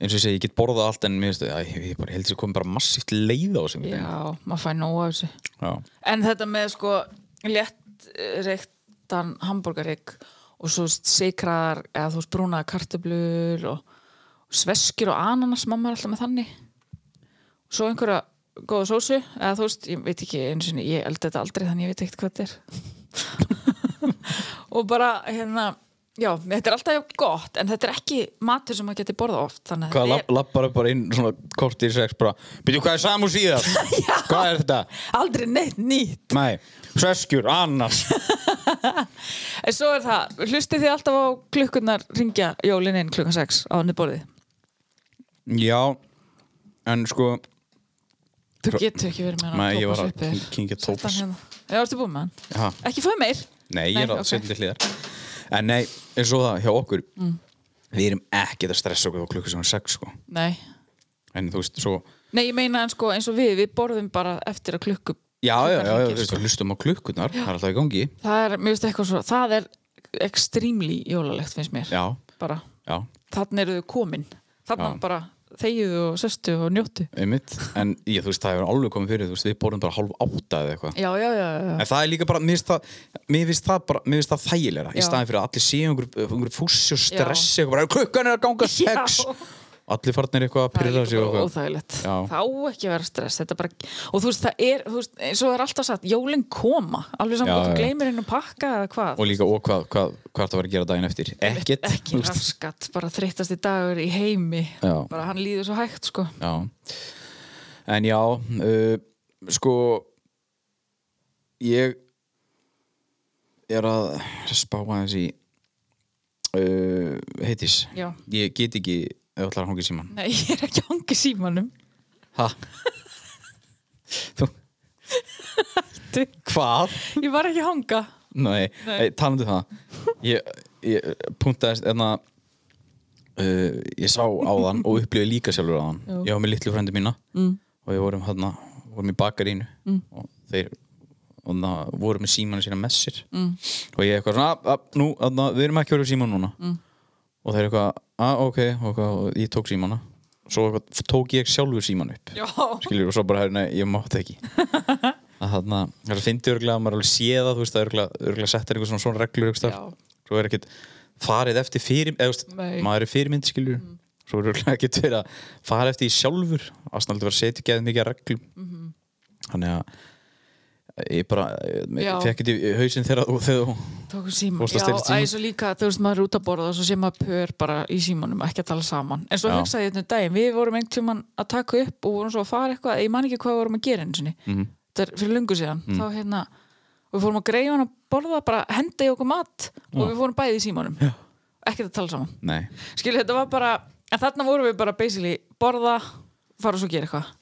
B: eins og ég segi, ég get borðað allt en mér finnst það, ég, ég bara heldur sem komið bara massíft leið á þessum
C: Já, maður fæ nóg af þessu.
B: Já.
C: En þetta með sko létt eh, reyktan hambúrgarrygg og svo sikraðar eða þú veist brúnaðar kartöblur og sveskir og ananas mamma er alltaf með þannig svo einhverja góða sósu eða þú veist, ég veit ekki einu sinni ég elda þetta aldrei þannig ég veit ekkert hvað þetta er og bara hérna já, þetta er alltaf jafn gott en þetta er ekki matur sem maður geti borða oft þannig að
B: Hvað
C: þetta
B: lapp, lappar upp bara inn svona kortir sex bara, byrju hvað er samú síðan? hvað er þetta?
C: er aldrei neitt nýtt
B: Nei, sveskjur, annars
C: En svo er það, hlustið þið alltaf á klukkunar ringja jólinn inn klukkan 6 á borðið.
B: Já, en sko
C: Þú getur ekki verið með hann
B: Nei, ég var að
C: uppi þér.
B: king- kingja
C: Settu hann
B: Tóbas.
C: hérna. Já, ertu búin með hann?
B: ha,
C: Ekki fóðu meir?
B: Nei, ég er að
C: ok. Mm.
B: setja til hliðar En nei, eins og það hjá okkur við erum ekki að stressa okkur á klukku sem er sex sko.
C: Nei.
B: en þú veist, svo
C: Nei, ég meina en sko eins og við, við borðum bara eftir að klukku
B: já, já, já,
C: klukkan
B: já
C: hringir,
B: þú veist,
C: sko.
B: við hlustum á klukkunar það er alltaf í gangi
C: Það er, mér finnst eitthvað svo, það er extremely jólalegt finnst mér
B: já,
C: bara,
B: já,
C: þannig eru þau komin þannig
B: Já.
C: bara þegiðu og sestu og njóttu
B: einmitt en ég, þú veist, það hefur alveg komið fyrir þú veist, við borðum bara hálf átta eða eitthvað
C: Já, já, já, já.
B: En það er líka bara, mér finnst það, mér finnst það, bara, mér finnst það þægilega
C: Já.
B: í staðin fyrir að allir séu einhver, einhver fússi og stressi eitthvað bara, klukkan er að ganga sex allir farnir eitthvað að
C: það er
B: pyrra sig
C: líka
B: og
C: bara
B: eitthvað
C: óþægilegt
B: Já.
C: það á ekki að vera stress þetta bara, og þú veist, það er, þú veist, svo er alltaf satt jólin koma, alveg saman
B: Já,
C: hvort þú
B: já.
C: gleymir henn að pakka eða hvað
B: og líka, og hvað, hvað, hvað ertu að vera að gera daginn eftir ekkert,
C: ekki
B: þú veist.
C: raskat, bara þreytast í dagur í heimi,
B: Já.
C: bara hann líður svo hægt sko.
B: já. en já uh, sko ég er að spá aðeins í uh, heitis
C: Já.
B: ég get ekki ef allar hangið síman
C: nei, ég er ekki hangið símanum
B: ha þú
C: Hættu.
B: hvað?
C: ég var ekki að hanga
B: Nei, Nei. talandi um það Ég, ég punktaðist enna uh, Ég sá á þann og upplifði líka sjálfur á þann
C: Já.
B: Ég var með litlu frændi mína mm. og við vorum hérna, vorum í bakarínu mm. og þeir og það voru með símanu sína með sér mm. og ég eitthvað svona, "Ah, ah, nú, þarna, við erum ekki verið síman núna mm. og þeir eitthvað, að ok og, eitthvað, og ég tók símana svo eitthvað, tók ég sjálfur síman upp
C: já,
B: skilur, og svo bara, nei, ég mátti ekki að þarna, það finnst örgulega að maður alveg sé það, þú veist, það örgulega settir einhver svona svona reglur, einhvers staðar. svo er ekkit farið eftir fyrir, eða, þú veist,
C: Nei. Mm.
B: maður er fyrirmynd, skilur svo er örgulega ekkit verið að fara eftir í sjálfur, að snaldi var að setja geðið mikið að reglum
C: Mhm.
B: þannig að ég bara,
C: Já.
B: ég fekk ekki í hausinn þegar þú, þegar þú
C: tókum síman
B: Fórstu að
C: um já,
B: stela símanum?
C: æ, svo líka, þú veist, maður er út að borða og svo sé maður pör bara í símanum, ekki að tala saman en svo
B: Já.
C: hugsaði ég þetta um daginn, við vorum einhvern tímann að taka upp og vorum svo að fara eitthvað ég man ekki hvað við vorum að gera einu sinni
B: Mhm.
C: mm. þetta er fyrir lungu síðan, þá hérna og við fórum að greiða hann að borða, bara henda í okkur mat og við fórum bæði í símanum já. ekki að tala saman,
B: nei,
C: skilja þetta var bara en þarna vorum við bara basically borða, fara og svo gera eitthvað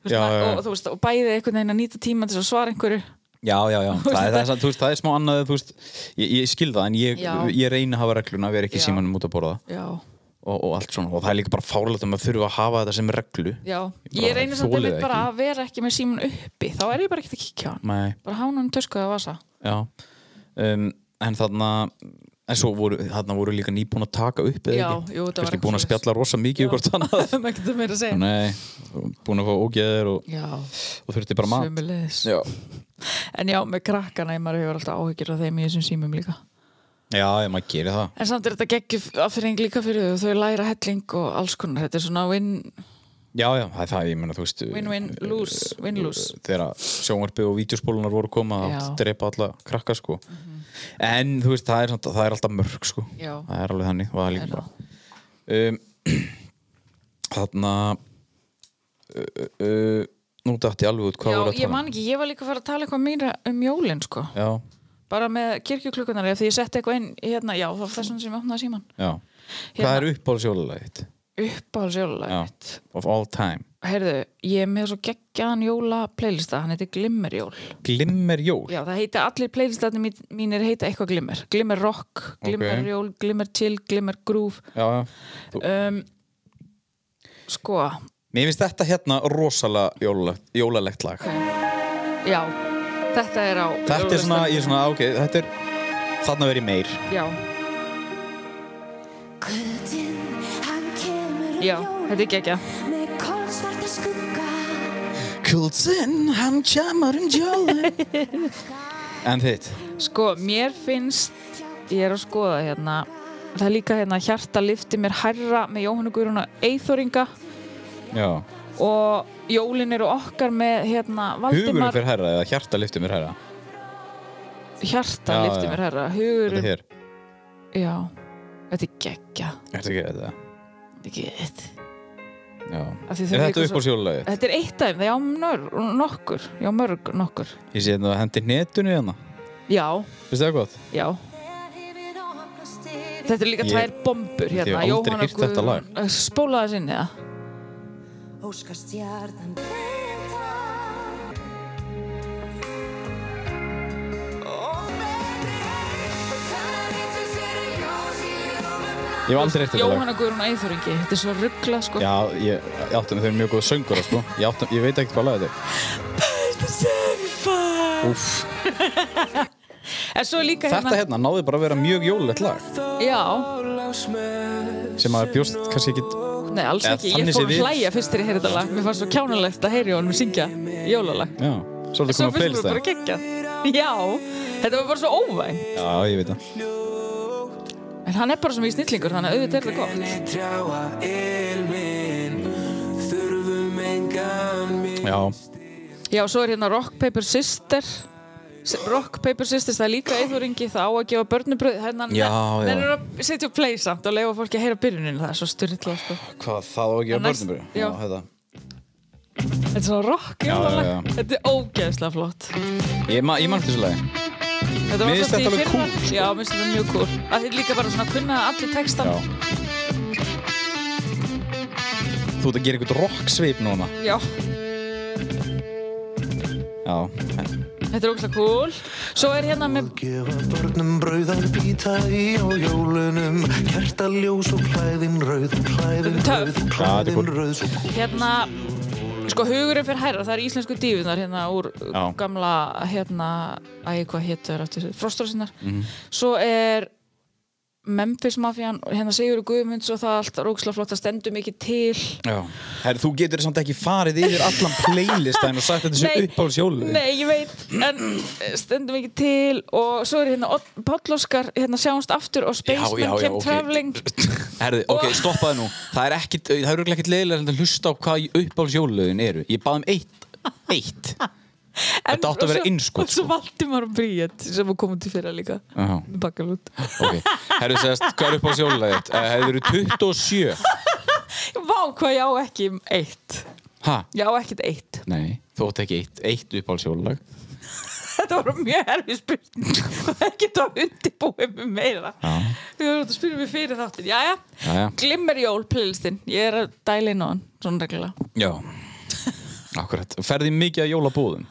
C: Þú veist,
B: Já, já,
C: maður-
B: já.
C: og, þú veist, og bæði einhvern veginn að nýta tíma til þess að svara einhverju
B: já, já, já það, er, það, er, samt- þú veist, það er smá annað, þú veist ég, ég skil það, en ég,
C: Já.
B: ég reyni að hafa regluna, við erum ekki
C: Já.
B: símanum út að borða
C: já,
B: og, og allt svona og það er líka bara fárlega að maður þurfa að hafa þetta sem reglu
C: Já,
B: bara
C: ég reynir samt
B: þoli
C: einmitt
B: það
C: bara
B: ekki.
C: að vera ekki með síman uppi þá er ég bara ekkert að kíkja á hann
B: Nei,
C: bara hána hann töskuða að vasa
B: já um, en þarna en svo voru, þarna voru líka nýbúin að taka upp eða
C: Já,
B: ekki,
C: jú, þetta
B: kannski
C: var eitthvað
B: búin að
C: svoleiðis.
B: spjalla rosa mikið já. hvort annað
C: það er ekkert að meira að segja
B: Nei, búin að fá ógeðir og,
C: Já,
B: og þurfti bara mat
C: sömulegis
B: Já,
C: En já, með krakkana, ég maður hefur alltaf áhyggjur af þeim í þessum símum líka
B: já, ef maður gerir það
C: En samt er þetta geggjum afturring líka fyrir þau þau læra helling og alls konar þetta er svona win,
B: Já, já, það er það, ég meina, þú veist
C: win, win,
B: Eh,
C: lose, win, lose
B: þegar sjónvarpi og vídeospólunar voru koma
C: Já. Mhm.
B: að drepa alla krakka sko en þú veist, það er, samt- það er alltaf mörg sko,
C: Já.
B: það er alveg þannig og það er líka
C: Er
B: bara um, þarna uh, uh, nú dætti ég alveg út hvað
C: Já,
B: voru að
C: ég
B: tala um?
C: man ekki, ég var líka að fara að tala eitthvað meira um jólin sko
B: já,
C: bara með kirkjuklukkunar ef því ég setti eitthvað inn hérna, já, það var þessum sem ég opnaði síman
B: já hvað
C: Hérna.
B: er uppáhalds jólalagið?
C: uppáhalds
B: Já,
C: jólalag
B: of all time
C: Herðu, ég er með svo geggjaðan jóla playlista, hann heitir Glimmerjól
B: Glimmer jól,
C: Já, það heita allir playlistatni mín- mínir heita eitthvað glimmer Glimmer rock, glimmerjól, glimmer chill, glimmer groove
B: já, já Þú-
C: um, Sko,
B: mér finnst þetta hérna rosalega jólalegt, jólalegt lag
C: já, þetta er á
B: þetta er svona,
C: jólastanum.
B: ég er svona, "Ah, ok, þetta er þarna verið meir
C: Já,
E: Guðinn, hann kemur um
C: já,
E: jólin
C: þetta er geggja
E: Með kolsvarta skugga
B: Kultinn, hann kemur um jólin En þitt
C: Sko, mér finnst, ég er að skoða hérna Það er líka hérna Hjarta lifti mér hærra með Jóhannu Guðrún og Eithóringa
B: Já.
C: og Jólin eru okkar með hérna
B: Hugurinn
C: Valdimar
B: fyrir herra eða hjarta lyftir mér herra
C: Hjarta
B: Já,
C: lifti
B: já.
C: mér herra
B: Þetta
C: Hugurinn
B: er hér
C: Já, þetta er geggja
B: Þetta er ekki þetta
C: Þetta er gett
B: Já.
C: Af því
B: Er
C: þau eru
B: þetta upp
C: eitthvað
B: á
C: svo-
B: sjólalagi?
C: Þetta er eitt af þeim, já, nör, nokkur Já, mörg, nokkur
B: Ég sé þetta að hendi netunni hérna
C: Já,
B: Veistu það gott?
C: já Þetta er líka
B: Ég-
C: tvær bombur
B: Ég hef
C: hérna
B: aldrei
C: Jóhanna
B: heyrt þetta lag.
C: Guðrún- Eh, Spóla þess inn eða
E: Óskastjarnan benda
B: Ég hef aldrei eitt þetta lag.
C: Jóhanna Guðrún Æþóringi, þetta er svo ruggla sko
B: Já, ég, ég átti með þau eru mjög góða söngur, sko. Ég, átti, ég veit ekkert hvað lag þetta er. Úff,
C: En svo er líka
B: þetta hérna náði bara að vera mjög jólulegt lag
C: Já,
B: sem maður bjóst kannski ekki
C: nei alls
B: Eða
C: ekki,
B: þannig
C: ég
B: sé
C: fór að
B: við.
C: hlæja fyrst þegar ég heyrði þetta lag Mér fannst svo kjánulegt að heyri honum syngja jólalag
B: Já,
C: En
B: svolítið komið á
C: svo finnst mér
B: playlist
C: bara
B: það
C: gekkja Já, þetta var bara svo óvæn
B: Já, ég veit það
C: En hann er bara svo mjög snillingur, þannig að auðvitað er það gott
B: Já,
C: Já, svo er hérna Rock Paper Sister S- Rock Paper Sisters, það er líka eithverjingi það á að gefa hérna, börnubröð þannig
B: Já,
C: að
B: já.
C: það er að setja upp play samt og leifa fólki að heyra byrjunin það er svo styrla sko.
B: hvað það á að gera
C: En næst-
B: börnum hérna. bara?
C: já.
B: þetta
C: þetta er svona rock
B: Já, já, já.
C: þetta er ógeðslega flott
B: Ég, ma, ég mann þessu lagi
C: þetta
B: Mér
C: var
B: finnst
C: alltaf
B: þetta alveg
C: í fyrra
B: kúl, sko.
C: já, mér finnst þetta mjög cool að þið líka bara svona kunna allir textan
B: Já Þú ert að gera eitthvað rock svip núna
C: Já,
B: Já,
C: þetta er ógeðslega cool svo er hérna með
F: Gefa börnum brauðar býta í á jólunum Kertaljós og klæðin rauð Klæðin rauð,
B: Já,
C: Töff.
B: þetta er
F: klæðin
B: cool.
F: rauð Svo
C: hérna sko hugurinn fyrir hærra, það er íslensku dífinar hérna úr
B: Já.
C: gamla hérna, æg hvað hétur frostur sinnar,
B: Mhm.
C: svo er Memphis Mafian hérna Sigur Guðmunds og það allt rókslega flott það stendur mikið til
B: já Herri, þú getur samt ekki farið yfir allan playlistan og sagt þetta sé
C: Nei.
B: uppáhaldsjólu
C: Nei, ég veit, en stendum ekki til og svo er hérna Odd- Páll Óskar hérna sjáumst aftur og Spaceman Kem Traveling
B: Herði, ok,
C: Og-
B: stoppaði nú Það er ekkit, það er örugglega ekkit leiðilega að hlusta á hvað uppáhaldsjóluðin eru Ég bað um eitt, eitt
C: En-
B: Þetta átti að
C: og
B: vera
C: svo-
B: innskot,
C: Og svo
B: sko.
C: Valdimar og Bríett sem var komið til fyrra líka
B: Já.
C: Bakkalút
B: Ok, herðu segast, hvað er uppáhaldsjóluðið þitt? Uh, Hefur eru 27
C: Vá, hvað ég á ekki um eitt
B: Ha?
C: Ég á ekkert eitt
B: Nei, þú átt ekki eitt, eitt uppáhaldsjólulag
C: Þetta voru mjög erfið spurning og ekkert að undirbúið með meira
B: Já.
C: Þú voru að spyrja mig fyrir þáttin Jæja,
B: Jæja.
C: glimmerjól playlistin Ég er að dæla inn á hann, svona reglulega
B: Já Akkurat, ferði mikið að jólabúðum?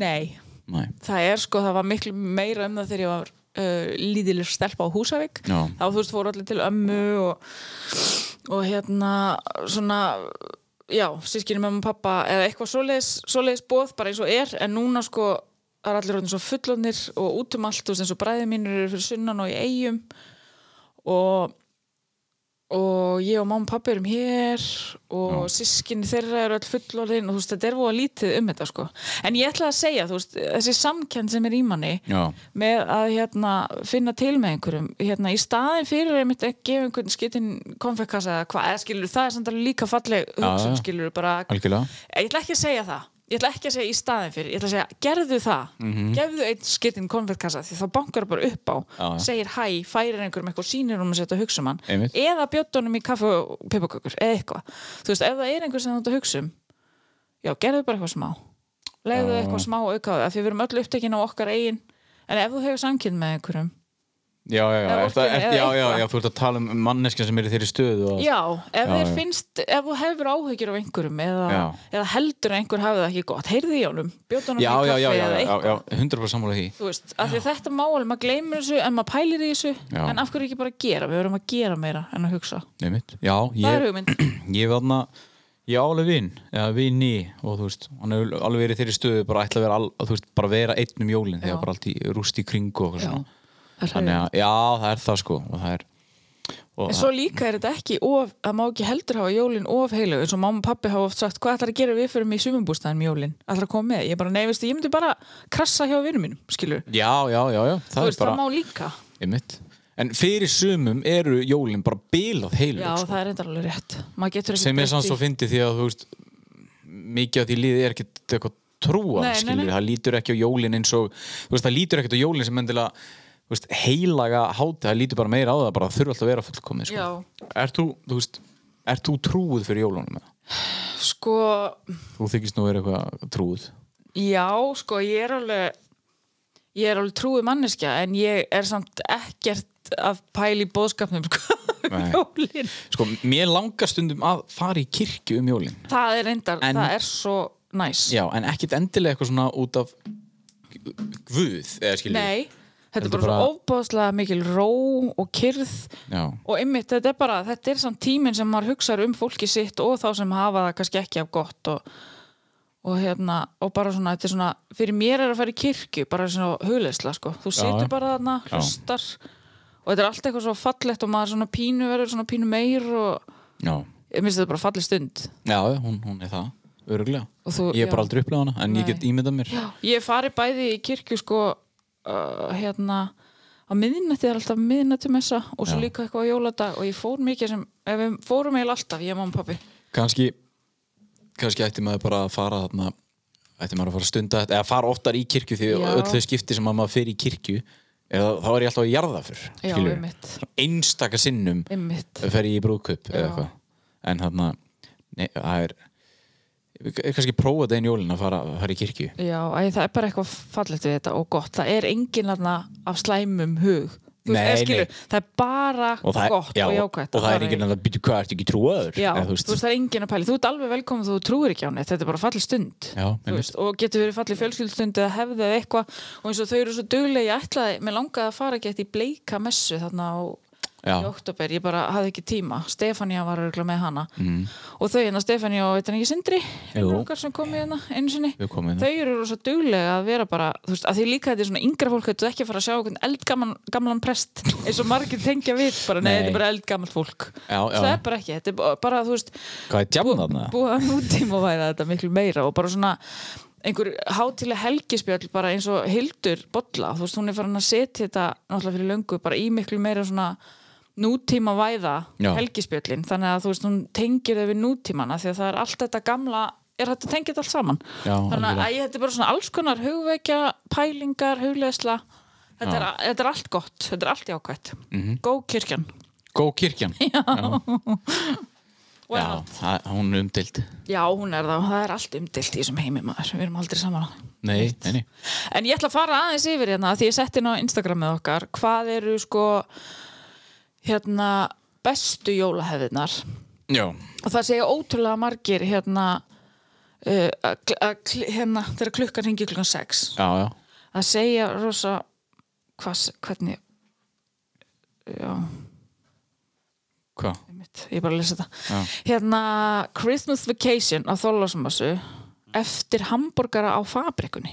C: Nei,
B: Nei
C: það er sko, það var miklu meira um það þegar ég var uh, lítileg stelpa á Húsavík
B: Já.
C: þá þú veist fóru allir til ömmu og, og hérna svona já, sískinu mamma og pappa eða eitthvað svoleiðis, svoleiðis bóð bara eins og er en núna sko það er allir orðin svo fullonir og út um allt þú veist, eins og bræði mínir eru fyrir sunnan og í eigum og og ég og mamma og pappi erum hér og sískinni þeirra eru all fullorðin og þú veist, þetta er voða lítið um þetta sko. en ég ætla að segja, þú veist, þessi samkennd sem er í manni
B: Já.
C: með að hérna, finna til með einhverjum hérna, í staðin fyrir einmitt að gefa einhvern skitinn konfektkassa eða hvað, eða skilur það er samt alveg líka falleg hugsun
B: já.
C: skilur bara,
B: Algjörlega
C: ég ætla ekki að segja það ég ætla ekki að segja í staðin fyrir, ég ætla að segja gerðu það, gefðu einn skitinn konfettkassa því þá bankar bara upp á
B: Mhm. Já, já.
C: segir hæ, færir einhverjum eitthvað sýnir um að setja að hugsa um hann
B: Einmitt.
C: eða bjóttunum í kaffe og pipakökur eða eitthvað, þú veist, ef það er einhver sem þú ert að hugsa um já, gerðu bara eitthvað smá legðu eitthvað smá aukaðu af því við erum öll upptekin á okkar eigin en ef þú hefur samkynn með einhverjum
B: Já, já, já,
C: Eða
B: er það,
C: orkinn
B: er,
C: eða
B: já, já,
C: eitthvað.
B: já, þú ert að tala um manneskjan sem er í þeirri stöðu og...
C: já, ef,
B: Já,
C: já,
B: já.
C: Finnst, ef þú hefur áhyggjur af einhverjum eða,
B: Já.
C: eða heldur að einhver hafi það ekki gott heyrðu í honum, bjóttunum í
B: Já,
C: kaffe
B: já, já, já,
C: eða
B: já,
C: eitthvað
B: já, 100% sammála því
C: þú veist, af því að þetta má alveg, maður gleymir þessu en maður pælir í þessu,
B: Já.
C: en af hverju ekki bara að gera við verðum að gera meira en að hugsa
B: Nei mitt, já,
C: það er
B: ég,
C: hugmynd,
B: ég var þarna Ég á alveg vinn, eða vinni og þú veist, hann hefur alveg verið í þeirri stöðu bara ætla að vera, al, þú veist, bara vera einn um jólin þegar
C: Já.
B: bara allt í rúst í kring og eitthvað
C: Já,
B: svona.
C: það er
B: Þannig
C: hugmynd.
B: að, já, það er það sko og það er og
C: en svo líka er þetta ekki of, það má ekki heldur hafa jólin of heilu, eins og mamma og pappi hafa oft sagt hvað ætlar að gera við fyrir mig í sumanbústæðin um jólin ætlar að koma með, ég bara neyfist, ég myndi bara krassa hjá vinnum mínum, skilur
B: það, Já, já, já, já, það
C: þú
B: er
C: veist,
B: bara
C: það má líka
B: Einmitt. En fyrir sumum eru jólin bara bilað heilug
C: já,
B: sko.
C: það er enda alveg rétt, maður getur ekki
B: sem er
C: breytt
B: sanns
C: því.
B: og fyndi því að þú veist mikið af því liðið er ekkert eitthvað trúa
C: Nei, nei,
B: skilur,
C: nei.
B: það lítur ekki á jólin eins og þú veist, það lítur ekkert á jólin sem endilega þú veist, heilaga háti, það lítur bara meira á það bara þurfa alltaf að vera fullkomið sko. er þú, þú veist, er þú trúið fyrir jólunum eða?
C: já, sko,
B: þú þykist nú vera eitthvað trúið
C: já, sko ég er alveg ég er alveg trúið manneskja en ég er samt ekkert að pæla í bóðskapnum sko, um
B: Nei.
C: jólin
B: sko, mér langar stundum að fara í kirkju um jólin
C: það er reyndar,
B: En-
C: það er svo næs
B: já, en ekkert endilega eitthvað svona út af guð, eða skilur
C: nei, þetta
B: Heldur
C: er bara svo
B: bara-
C: ofbáðslega mikil ró og kyrð
B: já,
C: og einmitt þetta er bara, þetta er samt tíminn sem maður hugsar um fólki sitt og þá sem hafa það kannski ekki af gott og, og hérna, og bara svona, þetta er svona fyrir mér er að fara í kirkju, bara svona hugleysla, sko, þú
B: Já,
C: situr
B: já.
C: bara þarna
B: Já.
C: hlustar og þetta er allt eitthvað svo fallegt og maður svona pínu verður svona pínu meir og
B: já,
C: ég minnst þetta er bara falleg stund
B: já, hún, hún er það öruglega,
C: Og þú-
B: ég
C: já.
B: hef bara aldrei upplegað hana en
C: Nei.
B: ég get ímyndað mér já,
C: Ég fari bæði í kirkju sko uh, hérna á miðnætti, það er alltaf miðnætti messa og svo
B: Já.
C: líka eitthvað á jóladag og ég fór mikið sem, ef við fórum eiginlega alltaf, ég, mamma og pappi
B: kannski kannski ætti maður bara að fara þarna ætti maður að fara að stunda þetta eða fara oftar í kirkju því
C: Já.
B: öll þau skipti sem að maður fer í kirkju eða, þá er ég alltaf í jarðafur
C: Já,
B: skilurðu.
C: einmitt.
B: Svona einstaka sinnum
C: Einmitt.
B: fer ég í brúðkaup eða
C: Já.
B: eitthvað en þarna nei, það er ég kannski prófa þetta einn jólin að fara, fara í kirkju
C: Já, æ, það er bara eitthvað fallegt við þetta og gott, það er engin aðna af slæmum hug Þú
B: Nei,
C: veist, eða skilur,
B: nei.
C: það er bara
B: það,
C: gott
B: já,
C: og jákvætt
B: og það
C: bara
B: er enginn að það býtu hvað ertu ekki trúaður
C: Já,
B: eða,
C: þú veist, það er enginn að pæli, þú ert alveg velkomin þú trúir ekki á neitt, þetta er bara falleg stund
B: Já,
C: Þú
B: einmitt.
C: veist, og getur verið falleg fjölskyldstund eða hefði eða eitthvað og eins og þau eru svo duglega, ég ætlaði, mér langaði að fara gett í bleika messu þarna á
B: Já.
C: í oktober, ég bara hafði ekki tíma Stefania var örgulega með hana mm. og þau hérna Stefania og eitthvað ekki Sindri
B: Jú.
C: vinur okkar sem komið hérna einu sinni
B: Þau komu hérna.
C: þau eru svo duglega að vera bara þú veist, að því líka þetta er svona yngra fólk þetta er ekki að fara að sjá einhvern eldgamlan gamlan prest eins og margir tengja við bara, nei,
B: Nei.
C: þetta er bara eldgamalt fólk
B: Já, já.
C: það er bara ekki, þetta er bara, þú veist
B: hvað er tjána þarna?
C: búið að um nútíma væða þetta miklu meira og bara svona einhver hátileg helgispjöll bara eins og Hildur Bolla, þú veist, hún er farin að setja þetta náttúrulega fyrir löngu, bara í miklu meira svona nútíma væða
B: Já.
C: helgispjöllin, þannig að þú veist, hún tengir þau við nútímana því að það er allt þetta gamla er hægt að tengja þetta allt saman
B: Já,
C: þannig að
B: algjörlega.
C: æ, þetta er bara svona alls konar hugvekja, pælingar, hugleðsla
B: Já.
C: þetta,
B: Mhm.
C: er, þetta er allt gott, þetta er allt jákvætt mm -hmm. góð kirkjan
B: Góð kirkjan Já,
C: og er allt.
B: það- hún er umdild
C: Já, hún er það, það er allt umdilt í þessum heimi maður, við erum aldrei saman á það.
B: Nei, nei, nei
C: En ég ætla að fara aðeins yfir hérna því ég sett inn á Instagramið okkar hvað eru sko hérna bestu jólahefðinar
B: Já,
C: og það segja ótrúlega margir hérna uh, að kl- að kl- hérna þegar klukkan ringi klukkan 6
B: já, já
C: að segja rosa hvað, hvernig já,
B: Hvað?
C: mitt, ég er bara að lesa þetta
B: Já.
C: hérna Christmas Vacation á Þorlásmassu eftir hambúrgara á fabrikunni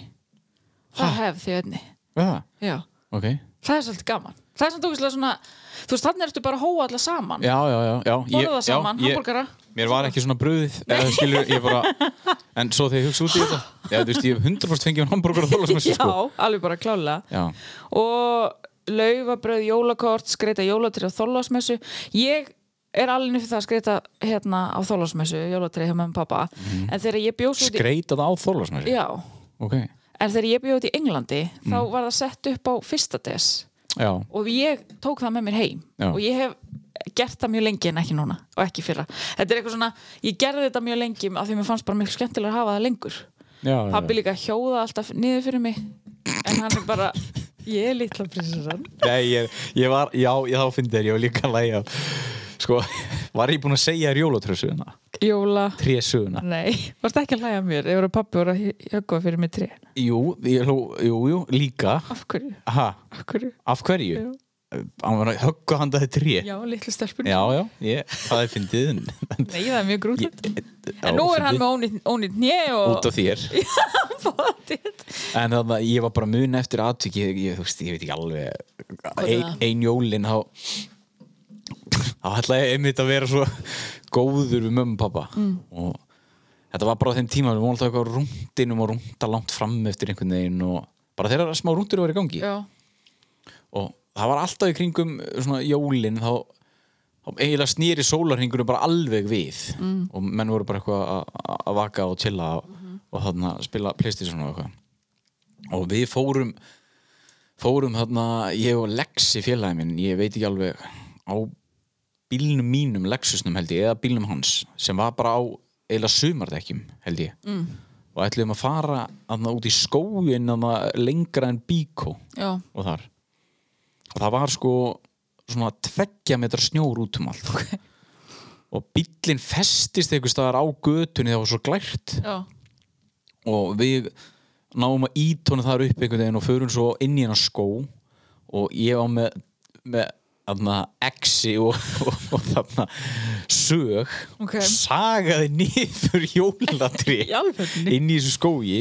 C: það hefð því einni
B: Já,
C: já
B: ok
C: það er svolítið gaman það er svolítið ógeðslega svona þú veist þannig ertu bara að hóa alla saman
B: Já, já, já, já ég-
C: borða
B: já,
C: saman,
B: ég-
C: hambúrgara
B: Mér var ekki svona bröðið eða skilur, ég bara En svo þegar ég hugsa út í þetta Já, þú veist, ég hef 100% fengið hann hambúrgar að þóla sem
C: já,
B: þessu sko
C: alveg bara klálega
B: Já,
C: og laufabröð, jólakort, skreita jólatrið á þólasmessu ég er alveg fyrir það að skreita hérna á þólasmessu, jólatrið hjá mömmu og pappa
B: Mhm.
C: en þegar ég bjóð út í
B: skreita það á þóla sem þessu
C: já,
B: Ok,
C: en þegar ég bjóð út í Englandi þá
B: Mhm.
C: var það sett upp á fyrsta des
B: já,
C: og ég tók það með mér heim
B: Já.
C: og ég hef gert það mjög lengi en ekki núna og ekki fyrra. Þetta er eitthvað svona ég gerði þetta mjög lengi af því að mér fannst bara mjög skemmtilega að hafa það lengur.
B: já,
C: Pabbi
B: já
C: líka hjóða alltaf niður fyrir mig en hann er bara, ég er litla prinsessan
B: Nei, ég, ég var, já, ég þá fyndi þér, ég var líka að lægja Sko, var ég búinn að segja þér jólatröðsuguna?
C: Jóla,
B: Trésuguna?
C: nei, varst ekki að læja mér ef að pabbi voru að hjögga fyrir mig tré
B: Jú, ég, hló- jú, jú, líka
C: Af hverju?
B: Aha,
C: Af hverju?
B: Af hverju? Hann var að höggu handa þetta tré.
C: Já, litla stelpun
B: já, já ég, það er fyndið. en-
C: Nei, það er mjög grútlegt
B: Já,
C: En nú er hann
B: fyndið.
C: með ónýtt- ónýtt njö
B: út
C: og
B: af þér.
C: bóttið
B: En þannig að ég var bara mun eftir aðtöki, ég, ég, þú veist, ég veit ekki alveg, ein,
C: það?
B: ein jólin, þá, þá ætla ég einmitt að vera svo góður við mömmu og pappa.
C: Mm.
B: Og þetta var bara á þeim tíma, við vorum alltaf eitthvað á rúndinum og rúnda langt fram eftir einhvern veginn og bara þeirra smá rúndur var í gangi.
C: Já,
B: og það var alltaf í kringum uh, svona jólin þá, þá eiginlega snýri sólarhingunum bara alveg við og menn voru bara eitthvað að- að að vaka og chilla og, og þarna spila playstation og eitthvað og við fórum fórum þarna, ég og Lexi félagi minn, ég veit ekki alveg á bílnum mínum Lexusnum held ég, eða bílnum hans sem var bara á eiginlega sumardekkjum held ég mm. og ætluðum að fara þarna út í skóin þarna lengra en bíkó
C: já,
B: og þar og það var sko svona tveggja metra snjór út um allt og bíllinn festist einhvers staðar á götunni það var svo glært
C: já
B: og við náum að ítóna þar upp einhvern veginn og förum svo inn í hennar skó og ég á með, með þarna exi og, og, og þarna sög
C: Ok.
B: sagaði niður jólatri
C: Í alvörunni?
B: inn í þessu skógi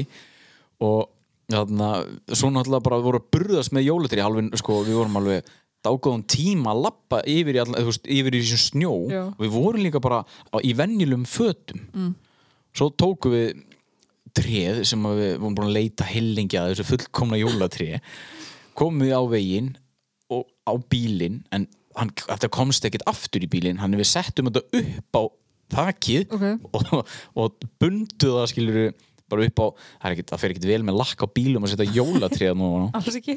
B: og þarna svo náttúrulega bara voru að burðast með jólatri alveg, sko, við vorum alveg dágóðum tíma að lappa yfir í, allan, þú veist, yfir í þessum snjó
C: Já.
B: og við vorum líka bara á, í venjulum fötum mm. svo tókum við tréð sem að við vorum búin að leita hellingi að þessu fullkomna jólatré komum við á veginn og á bílinn en hann, þetta komst ekkert aftur í bílinn hann við settum þetta upp á þakið
C: Ok.
B: og, og bunduð það skilur bara upp á, það, er ekkert, það fer ekkert vel með lakk á bílum að setja jólatréð nú og
C: alls ekki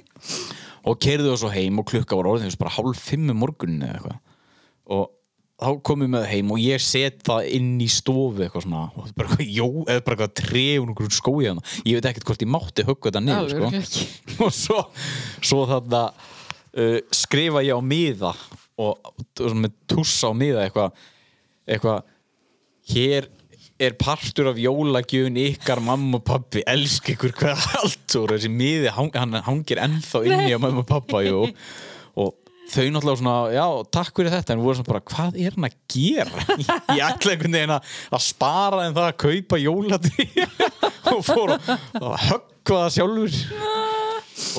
B: og kerðu það svo heim og klukka var orðin þú veist, bara hálf fimm um morgunin eða eitthvað og þá komum við með það heim og ég set það inn í stofu eitthvað svona og bara eitthvað jó eða bara eitthvað trefun okkur skói hana ég veit ekkert hvort ég mátti höggva þetta niður
C: Alveg
B: sko. og svo, svo þarna uh, skrifa ég á miða og, og með tussa á miða eitthvað eitthvað hér er partur af jólagjöfun ykkar mamma og pappi, elsk ykkur hvað allt og þessi miði hang, hann hangir ennþá inni á mamma og pappa jú. og þau náttúrulega svona já, takk fyrir þetta, en voru svona bara hvað er hann að gera? Ég ætla einhvern veginn að, að spara en það að kaupa jólatri og fór að að höggva það sjálfur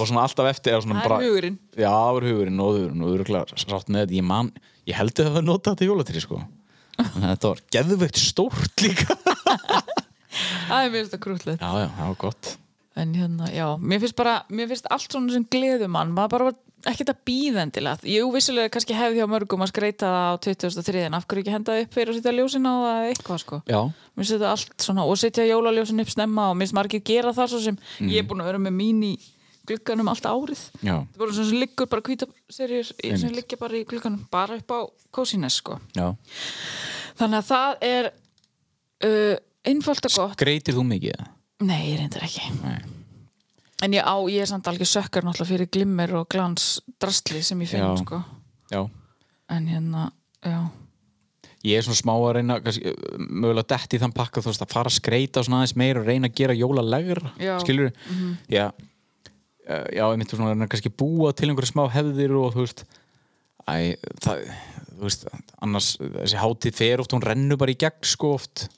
B: og svona alltaf eftir eða svona
C: Það er
B: bara-
C: hugurinn.
B: Já, það er hugurinn og hugurinn og örgulega sátt með þetta, ég man ég held að það var notað þetta jólatri sko Þannig að þetta var geðveikt stórt líka Já,
C: Það er mér þetta krútlegt
B: já, það var gott
C: En hérna, já, mér finnst bara mér finnst allt svona sem gleðumann maður bara var ekkert að bíða endilega Jú, vissulega kannski hefði hjá mörgum að skreita það á 2003 en af hverju ekki henda það upp fyrir að setja ljósin á það eða eitthvað sko
B: Já,
C: Mér finnst þetta allt svona og setja jólaljósin upp snemma og mér finnst margir gera það svo sem ég
B: Mhm.
C: er búin að vera með mín í glugganum allt árið
B: já,
C: Það er bara svona sem liggur bara kvítaserjur sem
B: Einmitt.
C: liggja bara í glugganum bara upp á kósines sko
B: já
C: Þannig að það er uh, einfalt og gott
B: Greitir þú mikið? eða?
C: Nei, ég reyndar ekki
B: Nei.
C: En ég á, ég er samt alveg sökkar náttúrulega fyrir glimmer og glans drastli sem ég finn,
B: Já.
C: sko.
B: Já
C: En hérna, já.
B: Ég er svona smá að reyna, kannski, eh, mögulega dett í þann pakka þú veist að fara að skreita svona aðeins meir og reyna að gera jólalegur
C: Já.
B: skilur við? Já, Eh, já, ég myndi svona að reyna kannski búa til einhverja smá hefðir og þú veist Æ, það, þú veist, annars þessi hátíð fer oft, hún rennur bara í gegn sko oft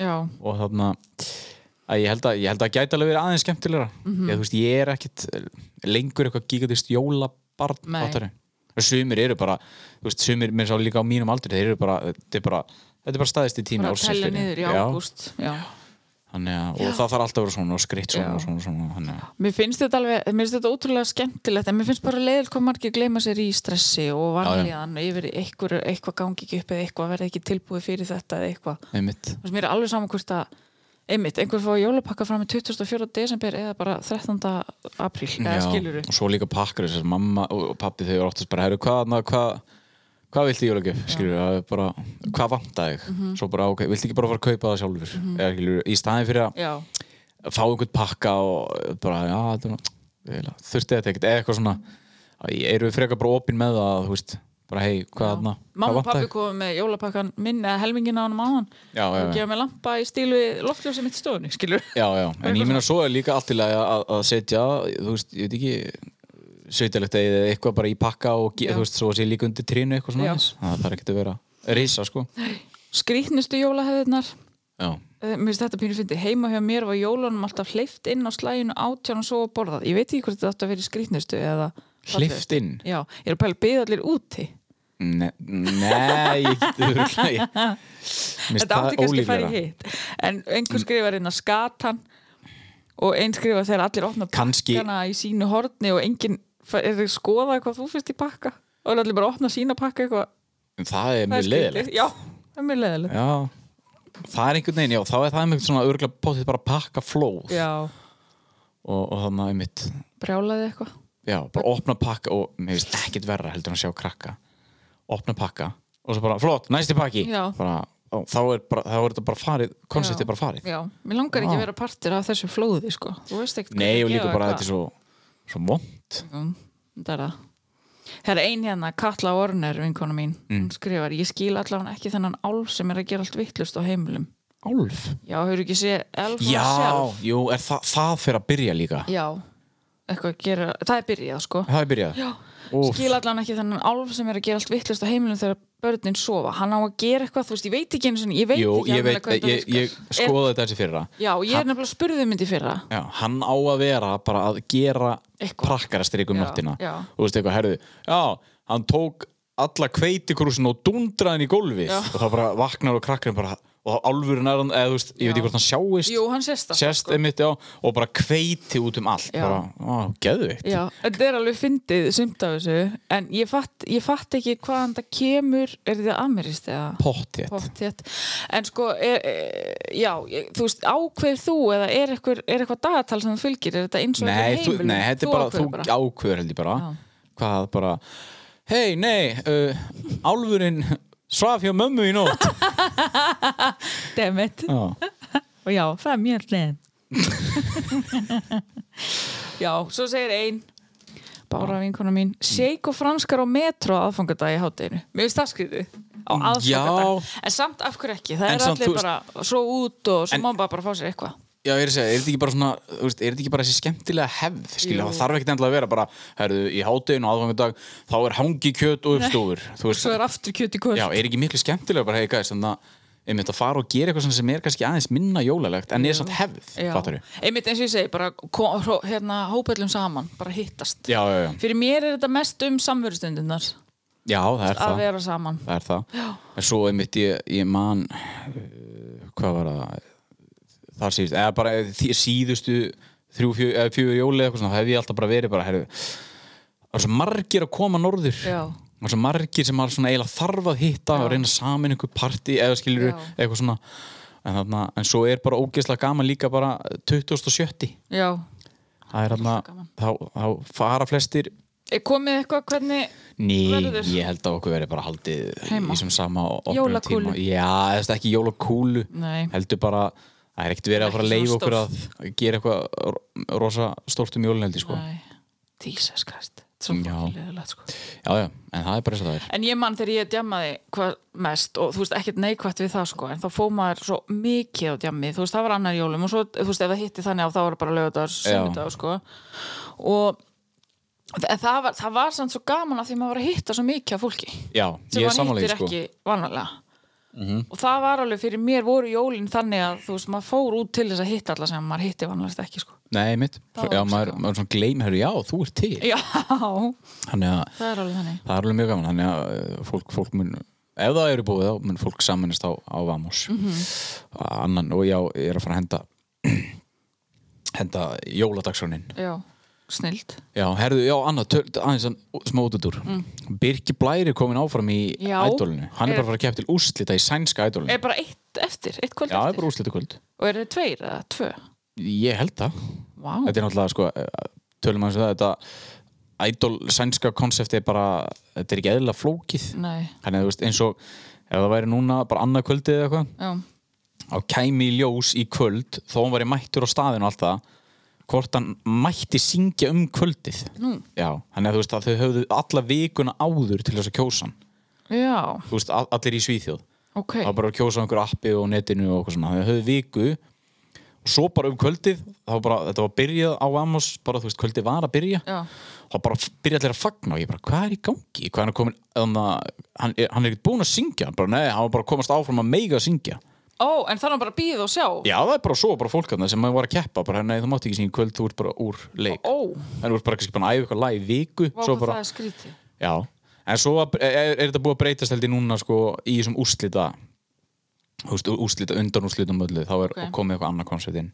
C: Já,
B: og þarna að ég held að, ég held að gæti alveg verið aðeins skemmtilegra
C: Mhm.
B: ég, þú veist, ég er ekkit eh, lengur eitthvað gigatist jólabarn
C: Nei.
B: fattari. og sumir eru bara þú veist, sumir mér sá líka á mínum aldri þeir eru bara, þetta er bara, þetta er bara staðist í tími
C: bara að
B: ársins
C: tella
B: fyrir.
C: niður í
B: Já,
C: ágúst. Já.
B: þannig að, og það þarf alltaf að vera svona og skritt svona
C: Já.
B: og svona, svona þannig að,
C: Mér finnst þetta alveg, mér finnst þetta ótrúlega skemmtilegt, en mér finnst bara leiðil hvað margir gleyma sér í stressi og vanlíðan yfir eitthvað, eitthvað gangi ekki upp eða eitthvað verði ekki tilbúið fyrir þetta eða eitthvað.
B: einmitt,
C: Þú veist, mér er alveg saman hvort að, einmitt, einhver fá jólapakka fram í 24. desember eða bara 13. apríl, eða skiluru.
B: og svo líka pakkar þess að mamma og og pabbi þau eru oftast bara, herru, hvað, na, hvað hvað viltu í jólagjöf, skilur það er bara, hvað vantar þig
C: Mhm.
B: svo bara, ok, viltu ekki bara fara að kaupa það sjálfur eða skilur, í staðin fyrir að
C: Já,
B: fá einhvern pakka og bara, já, þetta er nú- eiginlega þurfti þetta ekkert, eða eitthvað svona eru við frekar bara opinn með það, þú veist bara, hei, hvað þarna, hvað
C: Mamma og
B: vantar
C: pappi
B: þig?
C: komið með jólapakkan minn eða helmingin á hann máðan
B: Já, já,
C: og
B: já.
C: gefa mig lampa í stílu loftljósi mitt í stofunni, skilur
B: Já, já, en ég meina svo er líka allt til að, að, að setja, þú veist, ég veit ekki sveitalegt eða eitthvað bara í pakka og ge-
C: Já.
B: þú veist, svo sé líka undir trínu eitthvað svona
C: Já.
B: aðeins. það þarf ekkert að vera risa, sko
C: Skrýtnustu jólahefðirnar
B: Já,
C: eh, Mér finnst þetta pínu fyndi, heima hjá mér var jólunum alltaf hleyft inn á slæginu átján og svo að borðað Ég veit ekki hvort þetta átti að vera í skrýtnustu eða
B: hleyft inn
C: Já, ég er að pæla byggð allir úti
B: Ne- Nei, ég getur örugglega- ég- Mér finnst
C: Þetta
B: það
C: átti kannski að fara
B: ólíklegra.
C: í hitt En einhver skrifar inn að skatan og einn skrifar þegar allir opna
B: Kannski-
C: pakkana í sínu horni og enginn fa- er að skoða hvað þú finnst í pakka og er allir bara að opna sína pakka eitthvað
B: En Það er
C: Það er
B: mjög
C: skrítið.
B: leiðilegt
C: Já, það er mjög leðilegt
B: Já, það er einhvern veginn, já, þá er það einhvern svona örgulega potið bara pakka flóð
C: Já,
B: og, og þannig að einmitt,
C: brjálaði eitthvað
B: já, bara opna pakka og mér finnst ekkert verra heldur en að sjá krakka opna pakka og svo bara, flott, næsti pakki
C: Já.
B: bara, á, þá, er bara, þá er þetta bara farið konceptið
C: Já.
B: bara farið
C: Já, mér langar ekki
B: Já.
C: að vera partur af þessu flóði sko. Þú veist ekkert
B: Nei,
C: hvað
B: og
C: það
B: líka
C: gefa
B: bara
C: eitthvað.
B: þetta er svo, svo vond
C: Mm, Það er það Það er ein hérna, Katla Orner, vinkona mín hún
B: Mm.
C: skrifar, ég skil allavega ekki þennan álf sem er að gera allt vittlust á heimilum
B: Álf?
C: Já, hefur ekki séð elf
B: Já,
C: sjálf
B: jú, er það, það fyrir að byrja líka
C: Já, eitthvað að gera, það er byrjað sko
B: Það er byrjað
C: Já,
B: Úff.
C: skil allan ekki þennan álf sem er að gera allt vittlust á heimilum þegar börnin sofa hann á að gera eitthvað, þú veist, ég veit ekki einu sinni ég veit
B: Jú,
C: ekki
B: ég
C: alveg
B: veit,
C: hvað
B: ég, ég,
C: þetta
B: ég
C: virkar. Er-
B: skoði þetta þessi fyrra
C: Já, ég er nefnilega spurðið myndi fyrra
B: Já, hann á að vera bara að gera
C: Eitthvað.
B: prakkarastrygg um
C: Já,
B: nóttina
C: já.
B: Þú veist eitthvað, herðu Já, hann tók alla kveitikrúsin og dundraðin í gólfið
C: Já.
B: og þá bara vaknar og krakkarinn bara og þá álfurinn er hann, eða þú veist, ég veit
C: Já.
B: ekki hvort hann sjáist
C: Jú, hann sést það
B: sérst
C: sko.
B: einmitt, já, og bara kveiti út um allt
C: Já.
B: bara, á, geðvikt
C: Já, þetta er alveg fyndið sumt af þessu en ég fatt, ég fatt ekki hvaðan það kemur er þetta amirist eða
B: Pottétt,
C: pottétt en sko, er, er, já, ég, þú veist ákveður þú eða er eitthvað, er eitthvað dagatal sem þú fylgir, er þetta eins og
B: Nei,
C: eitthvað
B: þú,
C: heimilum?
B: nei, þetta er bara, þú
C: ákveður
B: ákveður held ég bara
C: Já.
B: hvað bara hei, nei, uh, álfurinn svaf hjá mömmu í nótt
C: Dammit.
B: Já,
C: og já, það er mjög hliðin já, svo segir ein Bára vinkona mín Seik og franskar á metro á aðfangadagi hátteginu Mér finnst það skrítið á aðfangadagi Mm, En samt af hverju ekki, það
B: En
C: er
B: samt,
C: allir
B: þú veist-
C: bara svo út og svo
B: En-
C: má maður bara, bara fá sér eitthvað
B: Já, ég er að segja, er þetta ekki bara svona, þú veist, er þetta ekki bara þessi skemmtilega hefð, skilja,
C: Jú.
B: það þarf ekkert endilega að vera bara, herðu, í háttegin og aðfangadag, þá er hangi kjöt og uppstúfur, þú veist,
C: Svo er aftur kjöt í kvöld
B: já, er ekki miklu skemmtilega bara, hei, gæs, þannig að, einmitt að fara og gera eitthvað svona sem er kannski aðeins minna jólalegt, en er samt hefð,
C: Já.
B: fattar við?
C: einmitt eins og ég segi, bara ko- hró- hérna, hópellum saman, bara hittast
B: Já, já, já,
C: Fyrir mér er þetta mest um samverustundunar
B: já, það er
C: að
B: það,
C: vera saman
B: það er það, en svo einmitt ég, ég man, uh, hvað var það, þar síðust, eða bara því- síðustu þrjú, fjö, eða fjögur jóli eða eitthvað svona, þá hef ég alltaf bara verið bara, herðu, það er svo margir að koma norður
C: Já.
B: það er svo margir sem maður svona eiginlega þarf að hitta og reyna samin einhver parti eða skilur
C: Já.
B: eitthvað svona en, þarna, en svo er bara ógeðslega gaman líka bara 2070
C: Já,
B: það er þarna,
C: gaman.
B: þá, þá fara flestir
C: er komið eitthvað hvernig
B: Ný,
C: Verður.
B: ég held að okkur verið bara haldið
C: Heima.
B: í sem sama opnunartíma.
C: Jólakúlu.
B: Já, þetta er ekki jólakúlu
C: Nei.
B: heldur bara, það er ekkert verið að fara að
C: Ekki
B: leifa
C: svona
B: okkur að gera eitthvað ro- rosa stórt um jólin heldur sko.
C: Nei, Jesus Christ Svo
B: Já.
C: fólkilega sko.
B: Já, já, en það er bara eins og það er
C: En ég man þegar ég djammaði hvað mest og þú veist ekkert neikvætt við það sko en þá fóð maður svo mikið á djammið þú veist það var annar jólum og svo þú veist ef það hitti þannig á þá var það bara lögadagur, sunnudagur sko og en það var, það var samt svo gaman að því maður var að hitta svo mikið af fólki
B: Já,
C: sem
B: ég er
C: maður
B: samanlega
C: hittir
B: sko. Mhm.
C: ekki vanalega og það var alveg fyrir mér voru jólin þannig að þú veist maður fór út til þess að hitta alla sem maður hitti vanalega ekki sko
B: Nei, mitt,
C: Það var
B: já,
C: rosa
B: maður,
C: gaman.
B: maður svona gleymi herru, já, þú ert til
C: Já,
B: Þannig að
C: það er alveg þannig
B: það er alveg mjög gaman Þannig að eh, fólk, fólk mun Ef það eru búið þá mun fólk samanist á, á Vamos
C: Mhm.
B: Annan, og já, ég er að fara að henda Henda jóladagsrónin
C: Já, snild
B: Já, herðu, já, annað, töl, aðeins hann- smá út úr Birki Blæri komin áfram í
C: Mm. Já.
B: ædólinu Hann er bara
C: Er-
B: að fara að keppa til úrslita í sænska ædólinu
C: Er bara eitt eftir, eitt kvöld
B: Já, það er
C: eftir
B: bara úrslita kvöld
C: Og eru þið tveir eða tvö?
B: Ég held það
C: Vá,
B: Þetta er náttúrulega sko, eh, tölum aðeins um það þetta idol sænska konsepti er bara, þetta er ekki eðlilega flókið
C: nei,
B: þannig að þú veist eins og ef það væri núna bara annað kvöldið eða eitthvað
C: já,
B: á kæmi í ljós í kvöld þó hann væri mættur á staðinu og allt það hvort hann mætti syngja um kvöldið mm. já, þannig að þú veist að þau höfðu alla vikuna áður til þess að kjósa hann
C: já,
B: þú veist, all- allir í Svíþjóð
C: ok
B: það var bara að kjósa á einhverju appi og netinu og eitthvað svona, þau höfðu viku og svo bara um kvöldið þá bara, þetta var byrjað á Amos bara þú veist, kvöldið var að byrja
C: Já.
B: þá bara byrja allir að fagna og ég bara, hvað er í gangi hvað er hann komin, þannig að hann er, hann er ekki búin að syngja, Hann bara nei, hann var bara að komast áfram að meiga að syngja
C: Ó, en þannig bara býð og sjá
B: já, það er bara svo, bara fólk þarna sem var að keppa bara, nei, þú mátt ekki syngja í kvöld, þú ert bara úr leik
C: Ó,
B: þannig þú ert bara kannski bara að æfa eitthvað lag í viku
C: vá,
B: svo
C: hvað
B: bara,
C: það er skrítið
B: Já, en svo var- er, er þetta búið að breytast heldur núna sko í þessum úrslita þú veist, úrslita, undan úrslita öllu, þá er
C: Ok.
B: komið eitthvað annað koncept inn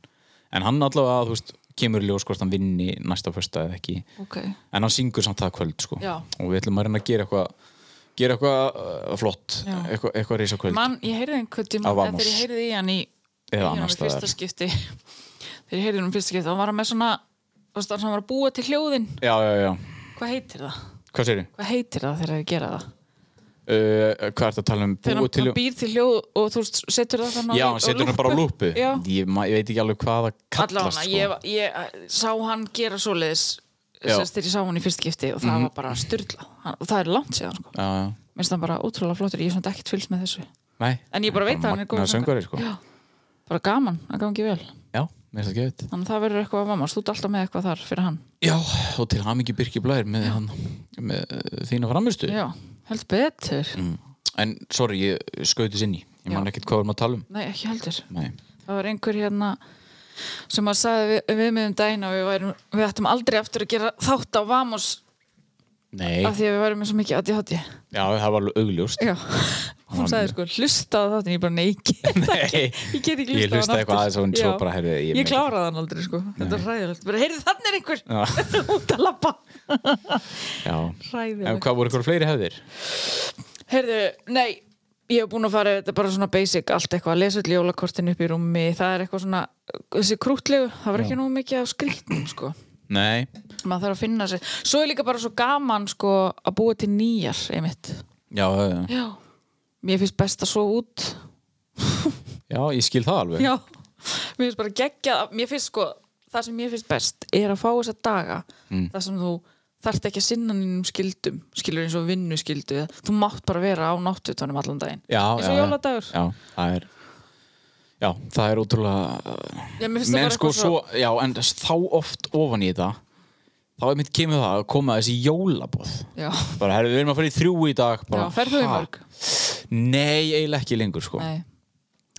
B: en hann allavega, þú veist, kemur í ljós hvort hann vinni næsta fyrsta eða ekki
C: Ok,
B: en hann syngur samt það kvöld sko
C: Já.
B: og við ætlum að reyna að gera eitthvað gera eitthvað uh, flott,
C: Já.
B: eitthvað, eitthvað reysa kvöld
C: mann, ég heyrði einhvern
B: Á
C: tíma
B: Vamos.
C: Þegar ég heyrði í hann í
B: Eða
C: í honum
B: annars
C: í fyrsta
B: staðar.
C: skipti Þegar ég heyrði hann í fyrsta skipti Þá var hann með svona, þú veist, hann var að búa til hljóðin
B: Já, já, já,
C: Hvað heitir það?
B: hvað segir þið?
C: Hvað heitir það þegar þið gera það?
B: Uh, hvað ertu að tala um?
C: Þegar
B: Búið
C: hann,
B: til-
C: hann býr til hljóð og þú veist, setur það þannig á-
B: Já, hann setur hann bara á lúpu
C: Já.
B: ég, ma- ég veit ekki alveg hvað það kallast sko.
C: Allána, ég, ég eh, sá hann gera svoleiðis
B: Já. Mhm.
C: sérst þegar ég sá hann í fyrst skipti og það var bara styrla hann, og það er langt síðan sko.
B: Já, já,
C: minnst hann bara ótrúlega flottur, ég er svona ekkert fylgst með þessu
B: nei sko.
C: en ég bara veit að hann er góð
B: söngari sko
C: bara gaman, það gangi vel
B: Já, mér er það gett
C: þannig að það verður eitthvað að mamma, stúd alltaf með eitthvað þar fyrir hann
B: Já, og til hamingi Birki Blær með, hann, með eh, þína framistu
C: já, heldur betur
B: Mm. En sorry, ég skautis inn í Ég man
C: Já.
B: ekkert hvað við erum að tala um
C: nei, ekki heldur
B: Nei.
C: það var einhver hérna sem að sagði við, við mig um daginn að við, værum, við ættum aldrei aftur að gera þátt á Vamos
B: Nei,
C: af því að við værum með svo mikið aði hátti
B: já, það var alveg augljóst
C: já, hún sagði sko hlusta á þáttin, ég bara neiki
B: Nei,
C: ég get ekki hlusta
B: ég hlusta eitthvað aðeins og hún svo bara heyrði
C: ég, ég kláraði hann aldrei sko, þetta er hræðilegt bara heyrðu þannig er einhver
B: Já,
C: út að lappa
B: já. En
C: hræðilegt
B: hvað voru ykkur fleiri hefðir?
C: Heyrðu, nei, ég hef búin að fara yfir þetta bara svona basic, allt eitthvað, að lesa öll jólakortin upp í rúmi, það er eitthvað svona þessi krútlegu, það var ekki nú mikið af skrýtnum, sko,
B: Nei,
C: maður þarf að finna sér svo er líka bara svo gaman, sko að búa til nýjar, einmitt
B: já, já, eh, já.
C: já, mér finnst best að svo út
B: já, ég skil það alveg
C: já, mér finnst bara geggjað að- mér finnst sko, það sem mér finnst best er að fá þessa daga mm. þar sem þú þarft ekki að sinna nýjum skildum skilur eins og vinnu skildu þú mátt bara vera á náttutunum allan daginn
B: já,
C: eins og
B: já, já.
C: jóladagur
B: Já, það er Já, það er ótrúlega
C: Já, mér finnst það
B: Men
C: bara
B: sko
C: eitthvað
B: svo, já, en þá oft ofan í þetta þá er mitt kemur það að koma þessi jólabóð
C: Já,
B: bara, herru, við erum að fara í þrjú í dag bara,
C: já ferðu í
B: ha? sko.
C: mörg
B: Nei, eiginlega ekki lengur, sko
C: Nei,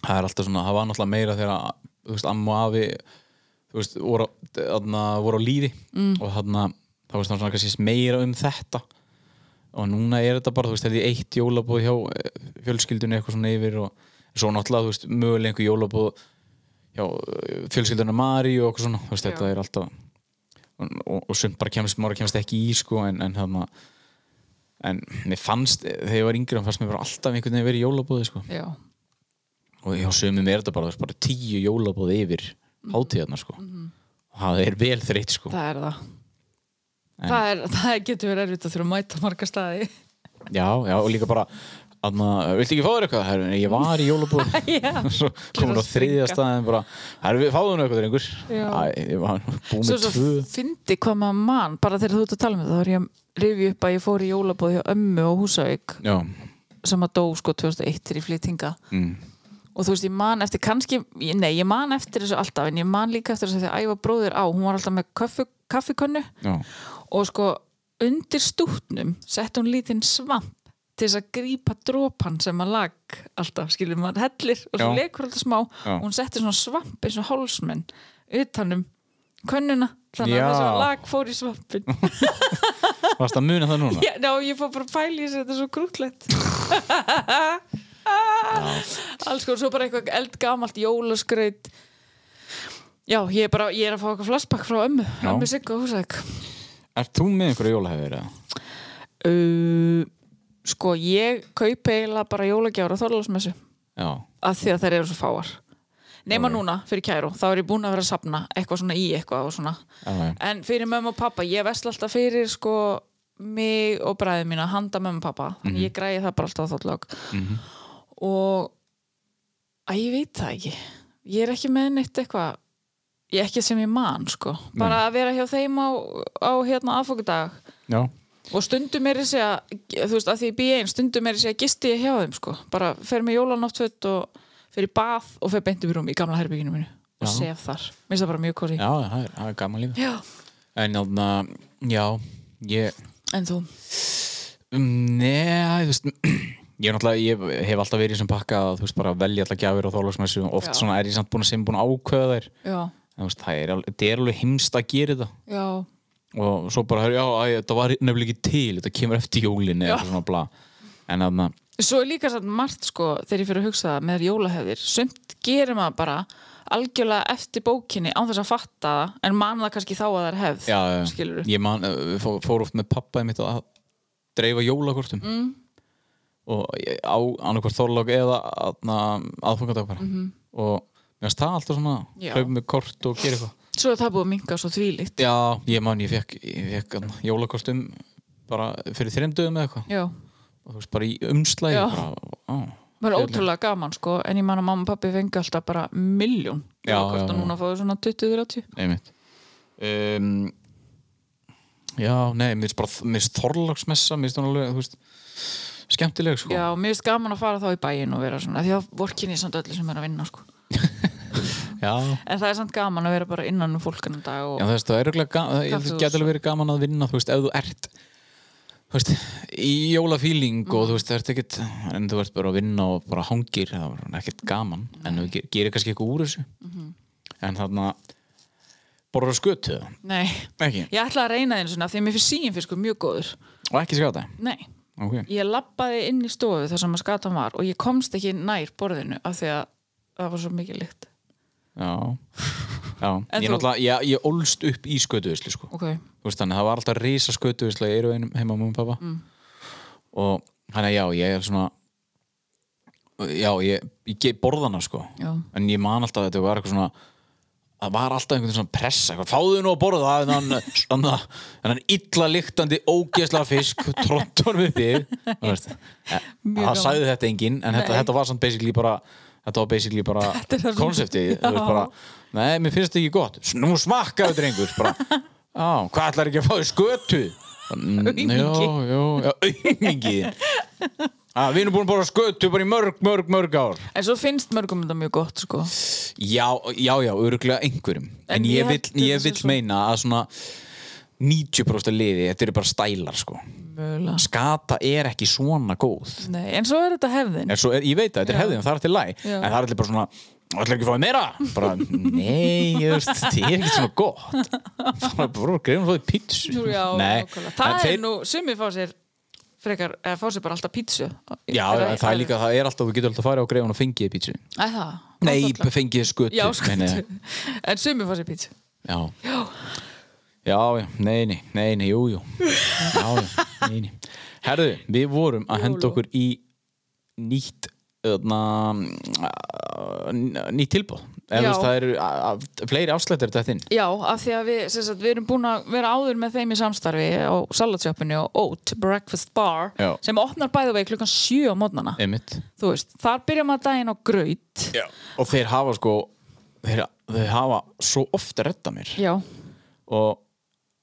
B: það er alltaf svona, það var náttúrulega meira þegar þú veist, amma og afi þú veist, voru, aðna, voru á lífi mm. og þarna, þá veist það svona kannski meira um þetta og núna er þetta bara, þú veist, hefði eitt jólabóð hjá eh, fjölskyldunni eitthvað svona yfir og svo náttúrulega, þú veist, mögulega einhver jólabóð hjá eh, fjölskyldunni Mari og eitthvað svona, þú veist, þetta
C: Já.
B: er alltaf og, og, og sumt bara kemst, maður kemst ekki í sko, en, en þarna en mér fannst, þegar ég var yngri þá fannst mér bara alltaf einhvern veginn verið jólabóði sko
C: já,
B: og hjá sumum er þetta bara, þú veist, bara tíu jólabóð yfir hátíðarna sko. og það er vel þreytt sko.
C: Mm. Mhm. það er það Það, er, það getur verið erfitt að þurfa að mæta marga staði
B: já, já, og líka bara Anna, viltu ekki fá þér eitthvað? Herru, nei, ég var í jólabóð
C: Já.
B: svo komin á
C: að springa.
B: þriðja staðin bara, herru, við fáðum eitthvað drengur
C: Já.
B: Æ, ég var búið
C: Svo
B: með
C: svo
B: tvö
C: fyndi hvað maður mann bara þegar þú ert að tala um þetta þá er ég að rifja upp að ég fór í jólabóð hjá ömmu og húsavík
B: já,
C: sem að dó sko 2001 til í flytinga mm. og þú veist ég man eftir kannski, ég- nei ég man eftir þessu alltaf en ég man líka eftir þessu þegar æfa bróðir á hún var alltaf með kaffi, kaffikönnu
B: já,
C: og sko undir stútnum sett hún lítinn svamp til þess að grípa dropan sem að lag alltaf, skilur maður hellir og svo
B: Já.
C: lekur alltaf smá
B: Já.
C: og hún setti svona svamp eins og hálsmenn utanum könnuna þannig
B: Já.
C: að þess að lag fór í svampin
B: varst að muna það núna?
C: Já, ná, ég fór bara að pæla í þessu, þetta er svo grútlegt Alls sko, svo bara eitthvað eldgamalt jólaskraut Já, ég er bara, ég er að fá eitthvað flashback frá ömmu
B: Já.
C: Ömmu Sigga Húsæk
B: Ert þú með einhverju jólahefir eða?
C: uh, Sko, ég kaupi eiginlega bara jólagjár á Þorlásmessu
B: Já,
C: Af því að þær eru svo fáar Neyma núna, fyrir kæru, þá er ég búin að vera að safna eitthvað svona í eitthvað og svona
B: já, já,
C: En fyrir mömmu og pappa, ég vesla alltaf fyrir sko mig og bræði mína handa mömmu og pappa,
B: Mhm.
C: þannig ég græði það bara alltaf á þóttlag og að ég veit það ekki ég er ekki með neitt eitthvað ég ekki sem ég man sko bara að vera hjá þeim á, á hérna aðfókudag
B: já,
C: og stundum er þessi að þú veist, að því ég býi einn, stundum er þessi að gisti ég hjá þeim sko, bara fer með jólanáttfött og fer í bath og fer beintum í rúm í gamla herbygginu mínu og
B: Já.
C: sef þar, mér finnst það bara mjög kosi
B: já, það er, það er gaman líka
C: Já.
B: En þarna, já, ég
C: en þú,
B: Um, Nei, þú veist Ég, er náttúrulega- ég hef alltaf verið sem pakka að þú veist bara velja alltaf gjafir og þólasmessu oft
C: Já.
B: svona er ég samt búin að sem búin að ákveða þær
C: já,
B: En, þú veist, það er, alveg- þetta er alveg heimst að gera þetta
C: já
B: og svo bara, já, æ, þetta var nefnilega ekki til þetta kemur eftir jólin eða
C: Já.
B: eitthvað svona bla en þarna,
C: Svo er líka satt margt sko þegar ég fyrir að hugsa það með jólahefðir sumt gerir maður bara algjörlega eftir bókinni án þess að fatta það en man það kannski þá að það er hefð
B: já, já,
C: skilur
B: ég man, eh, fó, fór oft með pappa mitt að dreifa jólakortum mm. og ég- á annarkvort þorlók eða aðfangandag bara og mér finnst það alltaf svona
C: Mhm. Já.
B: hlaupum með kort og gera eitthvað
C: Svo er það búið að minga svo þvílíkt
B: Já, ég man, ég fekk, ég fekk hérna, jólakort um bara fyrir þreim dögum eða eitthvað
C: Já,
B: og þú veist bara í umslægi
C: Já.
B: bara, á,
C: maður er ótrúlega gaman sko en ég man að mamma og pappi fengi alltaf bara miljón
B: Já, já,
C: og
B: já.
C: núna fáið svona 20-30
B: einmitt um, Já, nei, mér finnst bara mér finnst þorlagsmessa, mér finnst hún alveg þú veist, skemmtileg sko
C: Já, mér finnst gaman að fara þá í bæin og vera svona því að vorkinni samt öllu sem er að vinna sko
B: Já.
C: en það er samt gaman að vera bara innan um fólk en dag og
B: Já, þú veist, það er örugglega ga- það-
C: Kaffihús.
B: það getur alveg verið gaman að vinna, þú veist, ef þú ert þú veist, í jólafíling
C: Mhm.
B: og þú veist, það ert ekkit en þú ert bara að vinna og bara hangir það er ekkit gaman, en þú ger- gerir kannski eitthvað úr þessu
C: Mhm.
B: en þarna borður skötu eða?
C: nei,
B: ekki,
C: ég ætla að reyna þeim svona því að mér finnst síinfiskur mjög góður
B: og ekki skjáta
C: nei,
B: ok,
C: ég lappaði inn í stofu þar sem að skatan var og ég komst ekki nær borðinu af því að það var svo mikið lykt
B: já já,
C: En
B: ég
C: þú?
B: náttúrulega, ég, ég ólst upp í skötuvislu sko,
C: ok,
B: þú veist, þannig að það var alltaf risa skötuvisla í eru einum heima á mjög pappa
C: Mm.
B: og hann að já, ég er svona já, ég, ég gei borðana sko
C: Já.
B: en ég man alltaf að þetta var eitthvað svona það var alltaf einhvern veginn svona pressa eitthvað, fáðu nú að borða en hann, hann, en hann illa lyktandi ógeðsla fisk tróttur við bygg
C: Mjög
B: e, það
C: gaman.
B: sagði þetta enginn en þetta,
C: Nei.
B: þetta var samt basically bara þetta var basically
C: er
B: bara
C: það sem-
B: konseptið þú veist
C: Já.
B: bara, nei, mér finnst þetta ekki gott S- nú smakkaðu drengur bara, á, hvað ætlar ekki að fá þér skötu aumingi já, já, já, aumingi að við erum búin að borða skötu bara í mörg, mörg, mörg ár
C: en svo finnst mörgum þetta mjög gott sko
B: Já, já, já, öruglega einhverjum En,
C: ég
B: ég,
C: held
B: vill, ég
C: þetta sé
B: vill
C: svona-
B: meina að svona 90% af liði, þetta eru bara stælar sko.
C: Mögulega.
B: Skata er ekki svona góð
C: Nei, en svo er þetta hefðin
B: er svo, er, Ég veit að þetta er
C: Já.
B: hefðin, það er til læ
C: Já.
B: En það er allir bara svona, allir ekki að fá meira bara, Nei, ég veist, þetta er ekki svona gott Það er bara greifum að fá því pítsu
C: Nú, já,
B: Nei,
C: nákvæmlega. það
B: en
C: er nú, sumir fá sér frekar, eða fá sér bara alltaf pítsu
B: Já, en það er líka, það er alltaf, þú getur alltaf að fara á greifun og fengið pítsu
C: Æ, það,
B: Nei,
C: áfalla.
B: fengið skötu
C: Já,
B: meina
C: skötu
B: ég.
C: En sumir fá sér pítsu
B: Já. Já. Já, já, nei, nei, nei, nei, jú, jú. Já, já, nei, nei. Herðu, við vorum að henda okkur í nýtt, öðna, nýtt tilbúð. Eða
C: Já.
B: þú veist, það eru a- a- fleiri afslættir þetta þinn.
C: Já, af því að við, sem sagt, við erum búin að vera áður með þeim í samstarfi á salatsjöpunni og Oat Breakfast Bar
B: Já.
C: sem opnar bæðu vegi klukkan 7 á mótnana
B: Einmitt.
C: Þú veist, þar byrja maður daginn á graut
B: Já. Og þeir hafa sko, þeir, þeir hafa svo ofta retta mér.
C: Já,
B: og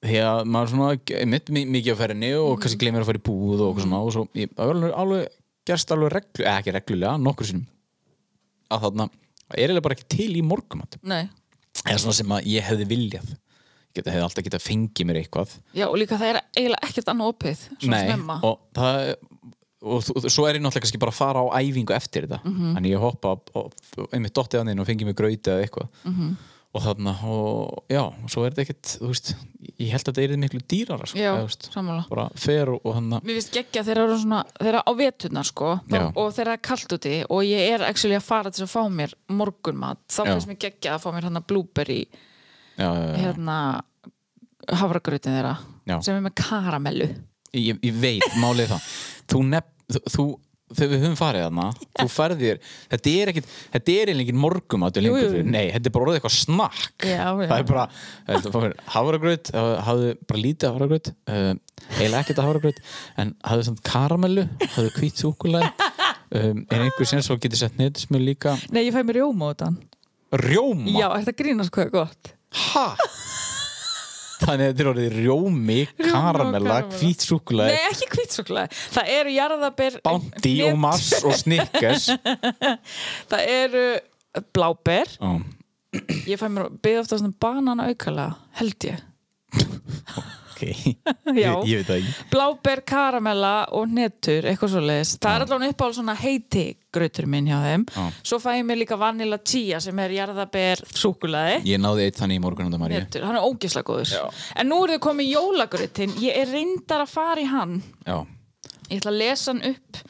B: því að maður svona mitt mikið á ferðinni og kannski gleymir að fara í búð og okkur svona og svo ég, það var alveg, alveg gerst alveg reglu, eða ekki reglulega, nokkur sinnum að þarna er eiginlega bara ekki til í morgumat
C: nei
B: eða svona sem að ég hefði viljað ég geta, hefði alltaf getað fengið mér eitthvað
C: Já, og líka það er eiginlega ekkert annað opið svona snemma
B: og það og þú- þú- svo er ég náttúrulega kannski bara að fara á æfingu eftir þetta,
C: Mhm.
B: þannig ég hoppa og, og einmitt dottið hann inn og fengi mig grauti eða eitthvað
C: Mhm.
B: og þarna og já, og svo er þetta ekkert, þú veist ég held að þetta er miklu dýrara sko,
C: Já,
B: eða, þú veist,
C: sammála.
B: bara fer og, og þannig
C: Mér finnst geggja þeirra eru svona, þeirra á veturna sko þá,
B: Já.
C: og þeirra er kalt úti og ég er actually að fara til að fá mér morgunmat þá
B: Já.
C: finnst mér geggja að fá mér hann að blúberi
B: já, já, já.
C: hérna hafragrautin þeirra
B: Já.
C: sem er með karamellu
B: Ég, ég veit, málið er það þú nefn, þú, þú þegar við höfum farið þarna, þú færðir þetta er ekkit, þetta er eiginlega engin morgumatur
C: Jú, jú.
B: lengur, fyrir- nei, þetta er bara orðið eitthvað snakk
C: Já, já.
B: það er bara þetta var mér hafragraut, eh, hafðu bara lítið hafragraut uh, eiginlega ekkert af hafragraut en hafðu samt karamellu, hafðu hvít súkulæði um, er einhver sem svo getur sett neytismjöl líka
C: Nei, ég fæ mér rjóma út hann
B: rjóma,
C: Já, er þetta grínast hvað er gott?
B: ha þannig að þetta er orðið rjómi, karamella,
C: karamella.
B: hvít súkulæði
C: Nei, ekki kvítsúklaði Það eru jarðaber
B: Bounty og Mars og Snickers
C: Það eru bláber
B: Já.
C: Ég fæ mér byggði ofta svona banana aukala held ég
B: Ok,
C: Já.
B: ég, ég veit það ekki
C: Bláber, karamella og netur eitthvað svo leiðis. Það er allavega uppáhald svona heiti grautur minn hjá þeim
B: Já.
C: Svo fæ ég mér líka vanilla chia sem er jarðaber súkulaði
B: Ég náði eitt þannig í morgun undan Maríu
C: Netur, hann er ógisla góður En nú eru þau komið jólagrautin Ég er reyndar að fara í hann
B: Já,
C: Ég ætla að lesa hann upp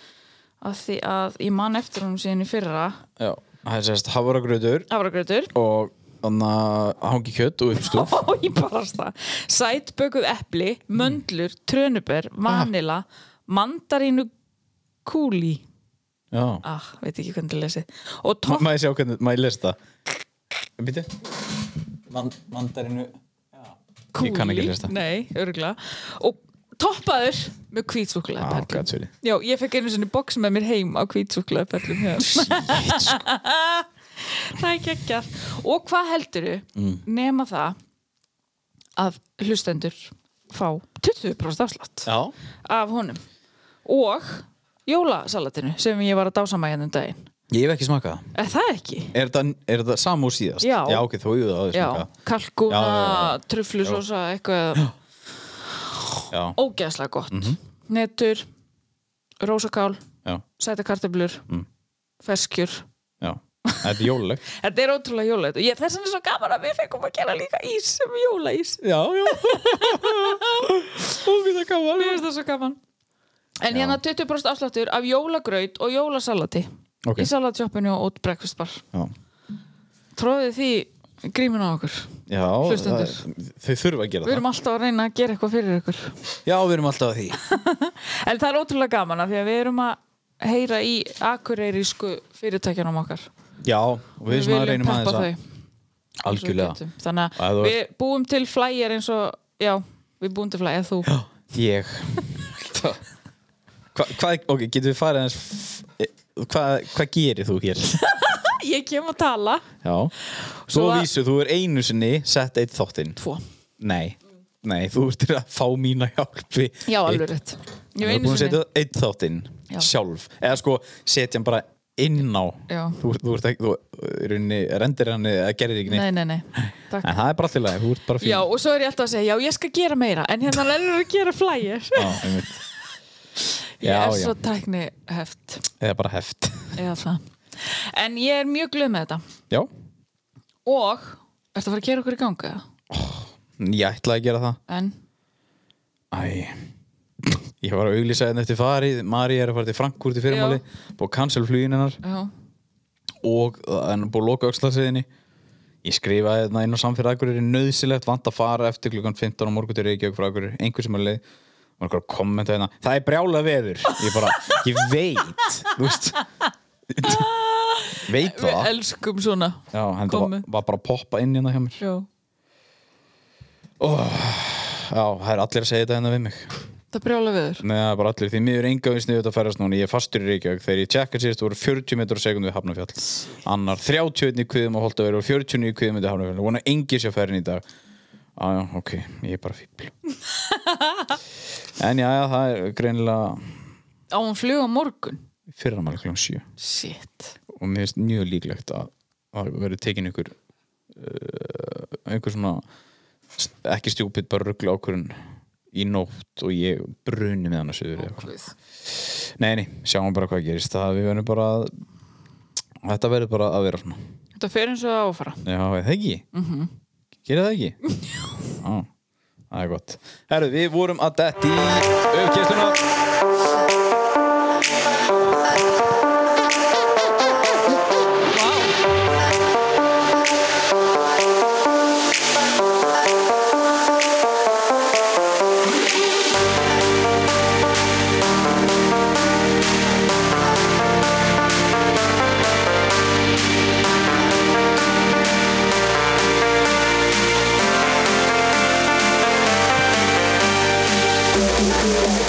C: af því að ég man eftir hún síðan í fyrra
B: já Það er sérst hafragröður
C: afragrautur
B: og hangi kjött og uppstúf
C: og ég barast það sætbökuð epli, möndlur, trönuber vanila, mandarínu kúli
B: Já,
C: ah, veit ekki hvernig það lesi
B: Ma-
C: og topp
B: maður sjá hvernig, maður lest það Býtu Man, Mandarinu
C: kúli
B: ég kann ekki lesa það.
C: nei, örgla og toppaður með kvítsúkulega
B: Á, gæt fyrir
C: Já, ég fekk einu sinni box með mér heim á kvítsúkulega perlum
B: sko.
C: Það er geggjað Og hvað heldur þau
B: Mm.
C: nema það að hlustendur fá 20% afslátt
B: Já,
C: af honum og jólasalatinu sem ég var að dásama hérna um daginn
B: Ég hef ekki smakað það.
C: Er það ekki?
B: Er þetta, er þetta samú síðast?
C: Já.
B: Já, ok, þú hefur það aðeins
C: Já,
B: smakað.
C: kalkuna,
B: Já, já, já.
C: truflusósa, eitthvað
B: Já,
C: ógeðslega gott.
B: Mhm.
C: Netur, rósakál,
B: já,
C: sæta kartöflur,
B: Mm.
C: feskjur.
B: já. Þetta er jólulegt.
C: Þetta er ótrúlega jólægt og ég, þess vegna er svo gaman að við fengum að gera líka ís sem jólaís.
B: já, já. Ógæða gaman.
C: Mér finnst það svo gaman. En
B: Já.
C: hérna 20% afsláttur af jólagraut og jólasalati
B: Ok.
C: í salatsjóppinu og út breakfast bar.
B: Já,
C: Tróðið því grímin á okkur.
B: já
C: Hlustendur.
B: það- þau þurfa að gera
C: Við erum
B: það.
C: alltaf að reyna að gera eitthvað fyrir ykkur.
B: Já, við erum alltaf að því.
C: En það er ótrúlega gaman að því að við erum að heyra í akureyrisku fyrirtækjanum okkar.
B: Já, og við svona reynum aðeins að algjörlega.
C: Getum. Þannig
B: Að
C: að
B: þú
C: við búum til flæjar eins og, já, við búum til flæjar, þú.
B: Já, ég. Það- Hva, hvað, ok, getum við farið aðeins, e, hvað, hvað gerir þú hér?
C: Ég kem að tala.
B: Já, svo
C: Svo að-
B: vísu, þú er einu sinni sett eitt þáttinn.
C: Tvo.
B: Nei, nei, þú ert að fá mína hjálpi
C: Já, alveg rétt. Ég
B: Þú
C: hef
B: ert
C: einu
B: búin að
C: sinni.
B: setja eitt þáttinn
C: Já.
B: sjálf Eða sko, setja hann bara inn á
C: Já.
B: Þú, ert- þú ert ekki, þú í rauninni, rendir hann eða gerir ekki
C: Nei,
B: neitt
C: nei, nei. Takk.
B: En það er bara allt í lagi, þú ert bara Ah, fín
C: Já, og svo er ég alltaf að segja, já, ég skal gera meira, en hérna lennur að gera flæjar.
B: Já, einmitt.
C: Ég
B: já,
C: er
B: já.
C: svo tækni heft,
B: eða bara heft
C: eða það. En ég er mjög glöð með þetta.
B: Já,
C: Og, ertu að fara að gera okkur í ganga?
B: ég ætlaði að gera það
C: En,
B: Æ Ég var að auglýsa henni eftir farið Mari er að fara til Frankúrt í fyrirmáli Búið að cancel flugin hennar
C: já.
B: og hann er búið að loka öxlarsiðinni ég skrifaði þarna inn á samfélag Akureyri nöðsilegt vant að fara eftir klukkan 15 á morgun til Reykjavík frá Akureyri einhver sem er á leið og einhver kommenta hérna það er brjála veður ég bara, ég veit þú veist veit
C: Við
B: það
C: elskum svona.
B: Já, hann var,
C: komu.
B: var bara að poppa inn hérna hjá mér
C: Já.
B: Já, það er allir að segja þetta hérna við mig
C: Það brjála viður.
B: Nei, það er bara allir, því miður enga við sniðu þetta að ferast núna Ég er fastur í Reykjavík Þegar ég tjekka sérst voru 40 metrar á sekundu við Hafnafjall Annar 31 í kviðum og Holtaveri og 49 í kviðum undir Hafnafjall Vona engi sér færin í dag Á, já, ok, ég er bara fíbl En já, já, það er greinilega
C: Á hún flug á morgun.
B: fyrramáli kl. 7
C: Shit.
B: og mér finnst mjög líklegt að að það verið tekin ykkur uh, einhver svona ekki stjúpið bara ruggla ákvörun í nótt og ég bruni með hann að söður okay.
C: Guð.
B: Nei, nei, sjáum bara hvað gerist það við verðum bara að þetta verður bara að vera svona
C: Þetta fer eins og það á að fara.
B: Já, er það ekki? Mm -hmm. Gerir það ekki? Já, það er gott Herru, við vorum að detti í auðkistuna
C: Vá.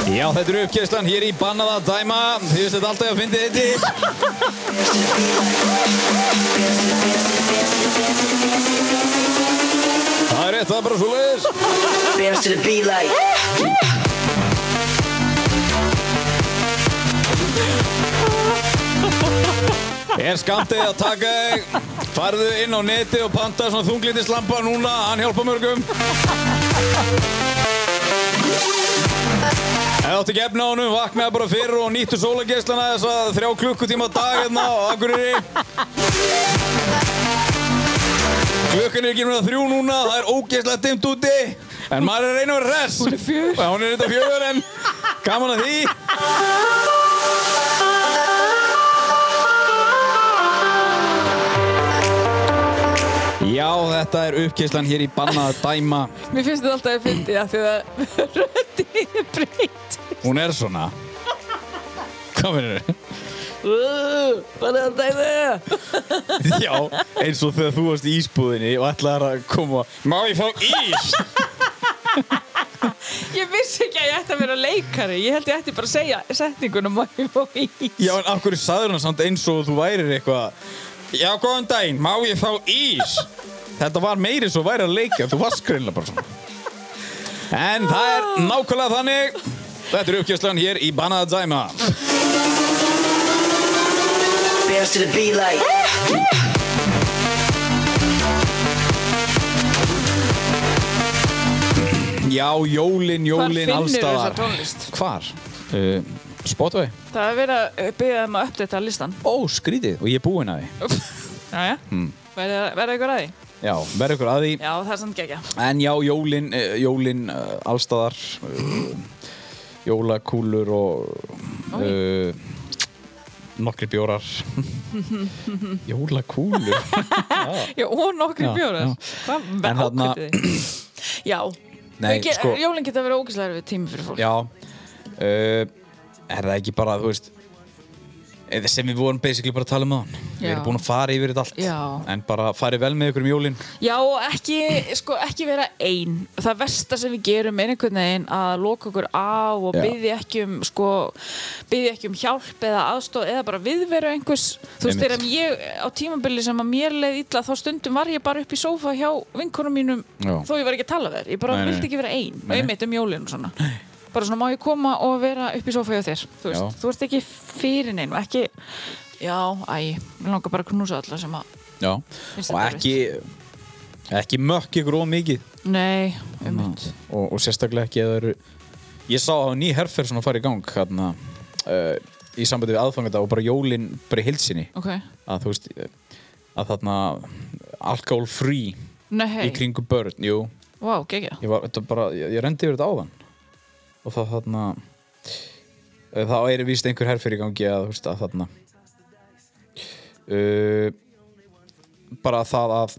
B: Já, þetta er uppkistlan hér í Bannaða dæma Þið veist þetta alltaf að fyndi þetta Það er rétt, það er bara svo leiðis
G: Dance to the beat like.
B: Er skamtið að taka þig Farðu inn á neti og panta svona þunglindislampa núna Hann hjálpa mörgum Ef þú átt ekki efna á honum, vaknaði bara fyrir og nýttu sólageslana þess að þrjá klukkutíma á dag hérna á Akureyri Klukkan er ekki núna þrjú núna, það er ógeðslega dimmt úti En maður er að reyna að vera res Hún er fjögur Hún er þetta fjögur en gaman að því Já, þetta er uppgeðslan hér í Bannaða dæma
C: Mér finnst þetta alltaf að fyndi að því að röddin er breytt.
B: Hún er svona Hvað verður þau?
C: Bara að dæmi.
B: Já, eins og þegar þú varst í ísbúðinni og ætlaðar að koma Má ég fá ís?
C: Ég vissi ekki að ég ætti að vera leikari. Ég held ég ætti bara að segja setningunum og ég fór í.
B: Já, en af hverju sagður hann samt eins og þú værir eitthvað Já, góðan daginn, má ég fá ís? Þetta var meiri svo væri að leika, þú varst greinlega bara svona En það er nákvæmlega þannig Þetta er uppgeðslan hér í Bannaða dæma
G: Dance dance to the beat like.
B: Já, jólin, jólin,
C: Hvar finnurðu
B: allstaðar.
C: þessa tónlist?
B: Hvar? Uh, Spotify?
C: Það er verið að byggja þeim að uppdata listan.
B: Ó, skrítið, og ég er búinn að því.
C: Jæja, hmm. verður ykkur að því?
B: Já, verður ykkur að því.
C: Já, það er samt gegja.
B: En já, jólin, uh, jólin uh, allstaðar. Uh, jólakúlur og... Uh, nokkri bjórar. jólakúlur.
C: Já, og
B: Já,
C: nokkri bjórar.
B: já.
C: Hvað
B: En þarna-
C: ákvöldið þið? Já,
B: Nei,
C: Þau ge-
B: sko-
C: jólin geta verið ógæslega erfið tími fyrir fólk.
B: já. Uh, er það ekki bara, þú veist... eða Sem við vorum basically bara að tala um það. Við
C: Já.
B: erum búin að fara yfir þetta allt.
C: Já.
B: En bara farið vel með ykkur um jólin.
C: Já, og ekki, sko, ekki vera einn. Það versta sem við gerum er einhvern veginn að loka okkur á og
B: Já.
C: byggja ekki um, sko, byggja ekki um hjálp eða aðstof eða bara viðveru einhvers. Þú veist,
B: Einmitt.
C: þegar ég, á tímabili sem að mér leið illa, þá stundum var ég bara upp í sófa hjá vinkunum mínum,
B: Já.
C: þó ég var ekki að tala við þér. Ég bara
B: Nei, nei, nei.
C: vildi ekki vera einn,
B: Nei, nei.
C: einmitt um jólin og svona. Bara svona, má ég koma og vera upp í sófa hjá þér? Þú veist,
B: Já.
C: þú ert ekki fyrir neinn og ekki, já, æ, mér langar bara að knúsa alla sem að,
B: Já.
C: Finnst
B: Og
C: þetta
B: ekki, ekki mökk ykkur of mikið.
C: nei, einmitt.
B: og, og sérstaklega ekki að það eru ég sá að ný herfer svona fara í gang hérna, uh, í sambandi við aðfanganda og bara jólin bara í hilsinni
C: Ok,
B: að þú veist eh, að þarna alkohol free
C: nei,
B: í kringu börn, jú
C: Vá, geggja.
B: ég, var, þetta bara, ég, ég rendi yfir þetta áðan og það þarna eh, þá er víst einhver herfer í gangi að, þú veist, að þarna uh, bara það að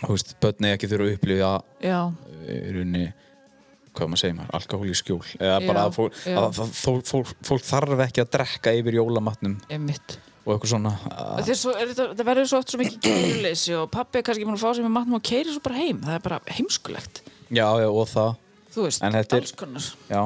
B: þú veist, börn eigi ekki þurfa að upplifa
C: Já,
B: í rauninni hvað maður segir maður, alkohól í skjól eða bara
C: Já,
B: að, fólk,
C: já.
B: að það, fólk, fólk, fólk þarf ekki að drekka yfir jólamatnum
C: einmitt.
B: og eitthvað svona
C: Og
B: að,
C: þeir svo, er, þetta- það verður svo oft svo mikið kæruleysi og pappi er kannski búin að fá sér með matnum og keiri svo bara heim. Það er bara heimskulegt.
B: já, já, og það
C: Þú veist,
B: En þetta er-
C: alls konar.
B: já,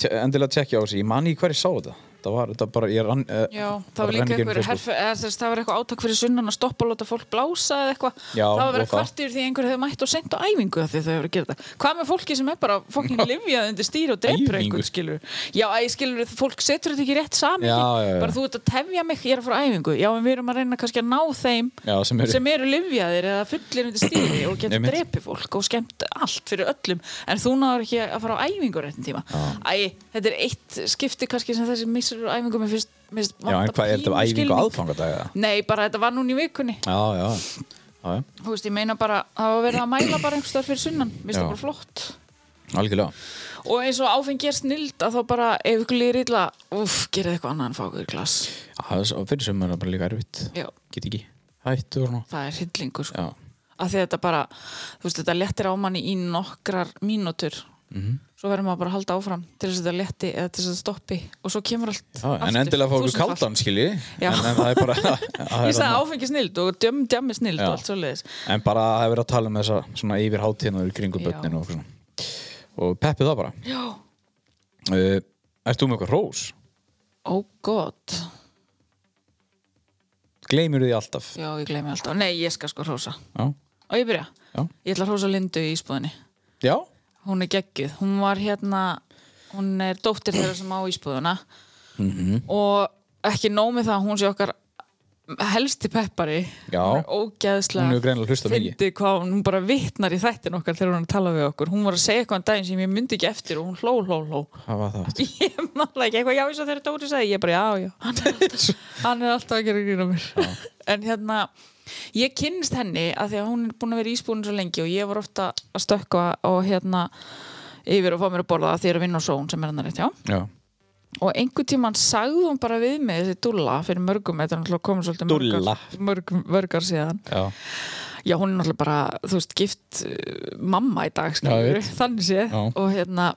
B: te- endilega tekja á þessu, ég man í hverju sá þetta það var, þetta bara, ég rann eh,
C: Já, það
B: bara
C: var
B: rann
C: líka
B: í gegnum
C: eitthvað,
B: Facebook.
C: herf, eða, þess, það var eitthvað átak fyrir sunnan að stoppa og láta fólk blása eða eitthvað.
B: Já,
C: það var verið
B: og
C: að kvart yfir því að einhver hefur mætt og sent á æfingu af því að þau hefur að gera þetta. Hvað með fólki sem er bara fokkin livjað undir stýr og drepur
B: Æfingu.
C: einhvern, skilur? Já, æ, skilur, fólk setur þetta ekki í rétt samingi.
B: Já, já, já.
C: Bara þú ert að tefja mig, ég er að fara á æfingu. Já, en við erum að reyna kannski að ná þeim
B: já, sem er,
C: sem eru livjaðir eða fullir undir stíði og getur
B: Einmitt.
C: drepið fólk og skemmt allt fyrir öllum en þú náður ekki að fara á æfingu á réttin tíma Æ, þetta er eitt skipti kannski sem þessi missur á æfingu mér fyrst, mér fyrst
B: já, en hvað er þetta, æfingu aðfangadaga
C: Nei, bara þetta var núna í vikunni
B: já, já, já, já,
C: Þú veist, ég meina bara, það var verið að mæla bara einhvers þar fyrir sunnan, mér finnst
B: Já.
C: það bara flott
B: algjörlega
C: og eins og áfengi er snild að þá bara, ef ykkur líður illa uff, gerði eitthvað annað en fá ykkur glas
B: það er svo- fyrir sem er það bara líka erfitt
C: Já.
B: get ekki, hættu og svona
C: það er hillingur sko.
B: já,
C: að því að þetta bara, þú veist, þetta lettir á manni í nokkrar mínútur
B: Mhm.
C: svo verður maður bara að halda áfram til þess að þetta letti eða til þess að þetta stoppi og svo kemur allt
B: já, en endilega fá okkur
C: þúsundfalt.
B: kaldan skilji
C: Já.
B: en, en það er bara það
C: Ég
B: er
C: sagði
B: þarna-
C: áfengi snild og djömm djömmi snild
B: Já.
C: og allt svoleiðis
B: En bara að hafa verið að tala um þessa svona yfir hátíðinu í kringu
C: Já.
B: börninu og svona. Og peppið það bara.
C: Já
B: Uh, ert þú með eitthvað rós?
C: Ó gott,
B: Gleimur því alltaf. Já.
C: já ég gleymi alltaf Nei, ég skal sko hrósa Og ég byrja,
B: Já.
C: ég ætla að hrósa Lindu í íspúðinni
B: Já.
C: hún er geggjuð, hún var hérna hún er dóttir þeirra sem á íspúðuna
B: Mhm.
C: og ekki nómið það að hún sé okkar helsti peppari
B: Já.
C: Hún er ógeðslega
B: Hún hefur greinilega hlustað mikið.
C: fyndið hvað hún, hún bara vitnar í þættin okkar þegar hún er að tala við okkur hún var að segja eitthvað en daginn sem ég myndi ekki eftir og hún hló, hló, hló
B: Það var það.
C: ég man það ekki eitthvað já eins og þegar Dóri sagði ég bara já, já, hann er alltaf, hann er alltaf að gera grína mér en hérna, ég kynnist henni að því að hún er búin að vera ísbúin svo lengi og ég var ofta að stökkva og hérna yfir og fá mér að borða því ég er að vinna á són sem er hennar rétt, já
B: Já.
C: og einhvern tímann sagði hún bara við mig þessi dulla fyrir mörgum, þetta er náttúrulega komið svolítið
B: Dúlla.
C: mörgar, mörg, mörgar síðan
B: Já.
C: Já, hún er náttúrulega bara, þú veist, gift uh, mamma í dag,
B: Já,
C: skilur,
B: ég veit.
C: þannig sé
B: Já.
C: og hérna,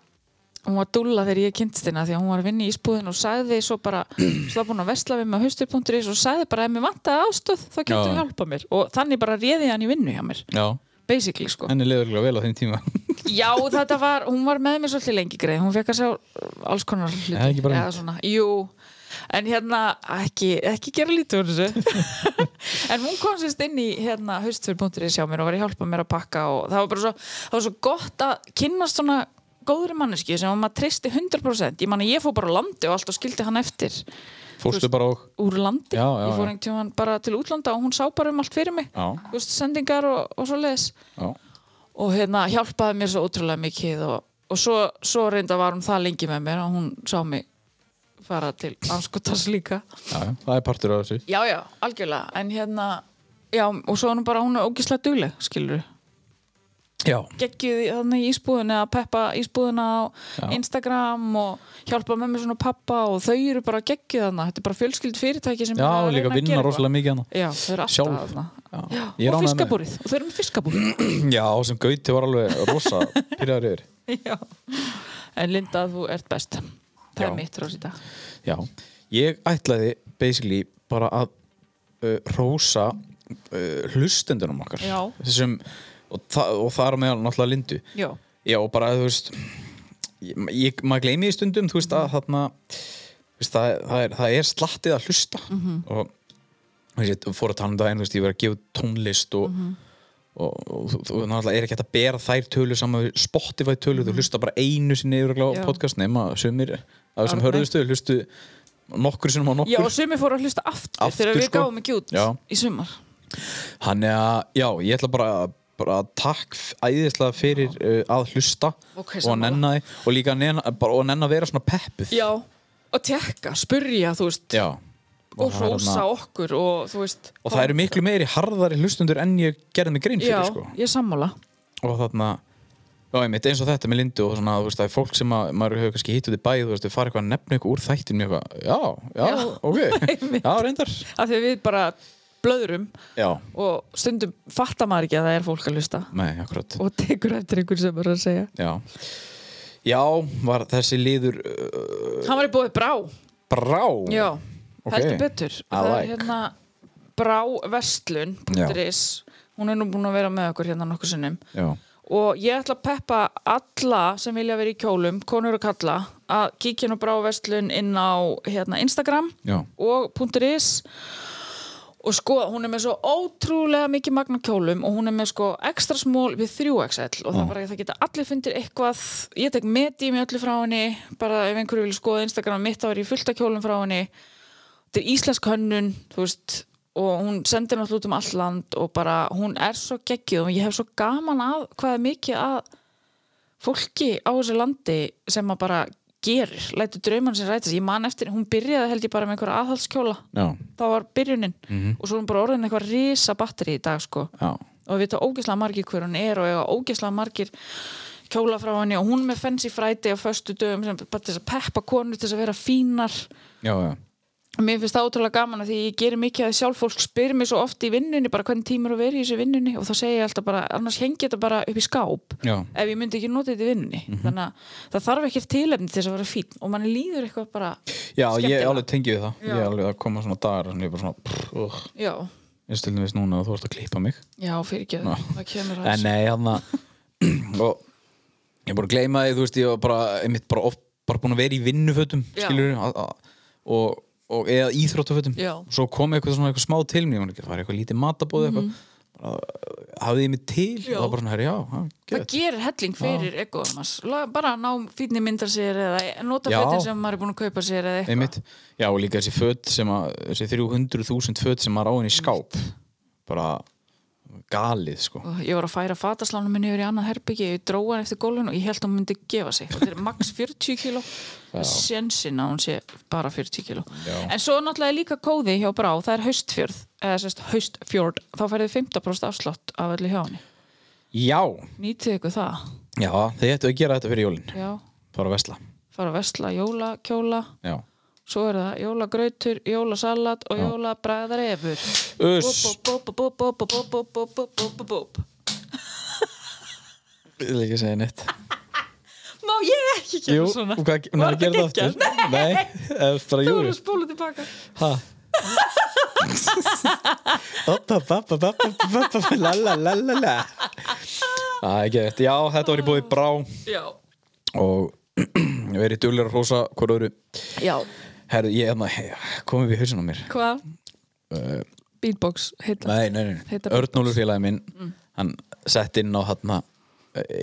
C: hún var dúlla þegar ég kynntist hérna því að hún var að vinna í ísbúðin og sagði svo bara, svo var búin að vesla við með haustur.is og sagði bara, ef mér vantaði ástöð þá getur
B: Já.
C: þú hjálpa mér og þannig bara réði hann í vinnu hjá mér,
B: Já.
C: basically sko
B: Henni leður líka vel á þeim tíma.
C: Já, þetta var, hún var með mér svolítið lengi greið hún fekk að sjá uh, alls konar hluti
B: Eða ekki bara
C: eða
B: mynd.
C: svona, jú en hérna, ekki, ekki gera lítið úr þessu en hún kom sérst inn í hérna haustfyrir.is hjá mér og var að hjálpa mér að pakka og það var bara svo, það var svo gott að kynnast svona góðri manneski sem að maður tristi 100% ég manna ég fór bara á landi og allt og skildi hann eftir
B: Fórstu bara og
C: úr landi,
B: Já, já,
C: ég fór
B: já.
C: einhvern tímann bara til útlanda og hún sá bara um allt fyrir mig
B: Já.
C: Þú veist, sendingar og, og svo leðis
B: já,
C: og hérna hjálpaði mér svo ótrúlega mikið og, og svo, svo reynda var hún það lengi með mér og hún sá mig fara til anskotans líka
B: já, já, það er partur af þessu
C: já, já, algjörlega, en hérna já, og svo er hún bara, hún er ógislega dugleg skilur við,
B: Já,
C: geggjuð í- þarna í ísbúðinu að peppa ísbúðina á
B: Já.
C: Instagram og hjálpa með mér svona pappa og þau eru bara geggjuð þarna, þetta er bara fjölskyld fyrirtæki sem
B: já
C: er að
B: líka
C: reyna að
B: vinna
C: gera
B: rosalega
C: eitthvað.
B: mikið hana
C: já, þau eru alltaf
B: Sjálf.
C: þarna
B: Já.
C: Já,
B: Ég er
C: og
B: ánægður með þau.
C: fiskabúrið, og þau eru með fiskabúrið
B: Já, sem Gauti var alveg rosa pyrraður yfir
C: Já. En Linda, þú ert best. Það
B: Já.
C: er mitt rós í dag.
B: Já, ég ætlaði basically bara að uh, rósa uh, hlustendunum okkar
C: Já.
B: Þessum, og, þa og það er meðal náttúrulega Lindu
C: Já.
B: Já, og bara, þú veist ég, ég, maður gleymi því stundum, þú veist að þarna þú veist, það, það, er, það er slattið að hlusta
C: Mhm.
B: -hmm. og þú veist, ég fór að tala um daginn, þú veist, ég verið að gefa út tónlist og,
C: Mhm.
B: og, og, og, og, og náttúrulega er ekki hægt að bera þær tölur saman við Spotify tölur, þú hlusta bara einu sinni yfir
C: Mhm. Já.
B: á podcast nema sumir af þessum
C: Árni.
B: hörðustu, hlustu nokkur sinnum á
C: Já, og
B: nokkur
C: sumi fóru að hlusta aftur,
B: Aftur,
C: þegar við
B: sko.
C: gáum ekki út
B: Já.
C: í sumar.
B: hann er að, já, ég ætla bara að bara takk f- æðislega fyrir uh, að hlusta
C: Ok,
B: og að
C: sammála.
B: nenna því og líka að nenna, bara, og að nenna að vera svona peppuð
C: Já, og tekka, spurja, þú veist,
B: Já
C: og
B: það er
C: hrósa
B: þarna-
C: okkur og þú veist.
B: Og það eru miklu meiri harðari hlustundur en ég gerði mig grein fyrir
C: Já,
B: sko.
C: ég er sammála.
B: Og þarna Já, einmitt, eins og þetta með Lindu og svona, þú veist, það er fólk sem að, maður hefur kannski hitt út í bæð, þú veist, þau fara eitthvað að nefna eitthvað úr þættin mjög eitthvað, já, já,
C: Já,
B: ok,
C: einmitt.
B: já, reyndar,
C: Af því að við bara blöðrum
B: já,
C: og stundum fattar maður ekki að það er fólk að hlusta
B: nei, akkurat,
C: og tekur eftir einhvern sem er að segja.
B: já, já, var þessi liður uh,
C: Hann var í bóði brá.
B: brá,
C: Já,
B: Ok.
C: heldur betur. það
B: like.
C: er hérna bráverslun.is. Hún er nú búin að vera með okkur hérna nokkur sinnum.
B: já,
C: og ég ætla að peppa alla sem vilja vera í kjólum, konur og kalla að kíkja nú bara á verslun inn á hérna, Instagram
B: já,
C: og .is og sko, hún er með svo ótrúlega mikið magna kjólum og hún er með sko ekstra smól við 3XL og það, bara, það geta allir fundir eitthvað ég tek meti með öllu frá henni bara ef einhverju vil skoða Instagram mitt þá er ég fullt af kjólum frá henni þetta er íslensk hönnun þú veist, og hún sendir náttúrulega út um allt land og bara hún er svo geggjuð og ég hef svo gaman að hvað er mikið að fólki á þessu landi sem að bara gerir, lætur drauman sem rætast ég man eftir, hún byrjaði held ég bara með einhverja aðhaldskjóla
B: já,
C: það var byrjunin og svo er hún bara orðin eitthvað risa batteri í dag sko
B: já,
C: og við vita ógeðslega margir hver hún er og eiga ógeðslega margir kjóla frá henni og hún með fancy friday á föstu dögum sem bara til þess að peppa konur til þess að vera fínar
B: já, já,
C: Mér finnst það ótrúlega gaman að því ég gerir mikið að sjálf fólk spyr mér svo oft í vinnunni bara hvernig tímur að vera í þessu vinnunni og þá segja ég alltaf bara, annars hengi þetta bara upp í skáp
B: Já.
C: ef ég myndi ekki nota þetta í vinnunni
B: Mhm.
C: þannig að það þarf ekkert tilefni til þess að vera fín og manni líður eitthvað bara
B: já, ég
C: skemmtilega.
B: alveg tengi við það,
C: Já.
B: ég alveg að koma svona dagar, sem ég bara svona, prr, uh,
C: Já,
B: eins til dæmis núna að þú ert að klippa mig,
C: já, fyrir ekki
B: Ná.
C: það kemur að
B: En eh,
C: þessu.
B: nei, hann og ég bara gleyma því, þú veist, ég var bara einmitt bara, oft, bara búin að vera í vinnufötum
C: Já.
B: skilur og, og eða íþróttafötum
C: Já.
B: svo kom eitthvað svona eitthvað smá til mér ég man ekki, það var eitthvað lítið matabóð eitthvað bara, hafði ég mig til
C: Mhm. Já.
B: og það var bara svona, herri, já, já,
C: Það
B: gett
C: gerir helling fyrir eitthvað annars. La- bara að ná fínni myndar sér eða nota
B: Já.
C: fötin sem maður er búin að kaupa sér eða eitthvað
B: einmitt, já og líka þessi föt sem að, þessi 300.000 föt sem maður á henni í skáp bara galið sko
C: og ég var að færa fataslánum minni yfir í annað herbyggi, ég dró hann eftir gólun og ég held að hún myndi gefa sig þetta er max 40 kíló sjensin að hún sé bara 40 kíló
B: Já.
C: en svo náttúrulega er líka kóði hjá Brá það er haustfjörð, eða sérst haustfjörð þá færðu 50% afslátt af öllu hjá henni
B: já,
C: nýtið ykkur það,
B: já, þið ættu að gera þetta fyrir jólin
C: já
B: bara að vesla,
C: fara að vesla jólakjóla
B: já
C: svo er það jólagrautur, jólasalat og jólabræðarefur
B: Uss.
C: má
B: Ég vil ekki segja neitt
C: ég ekki
B: Jú,
C: gera svona
B: og hvað,
C: Var
B: nær að gera
C: þetta
B: það aftur? Nei, eða bara
C: Þú
B: jú
C: voru að spóla tilbaka
B: Ha Oppa, pappa, pappa, pappa, la la la la la Æ, ekki þetta, já, þetta var í búið brá
C: Já,
B: og verið duglegur að hrósa hvort öðru
C: já.
B: Herðu, ég hefna, hey, komið við hausinn á mér
C: hvað? Beatbox heita
B: Eh. Nei, nei, nei,
C: Heita
B: Örnólur félagi minn hann sett inn á hann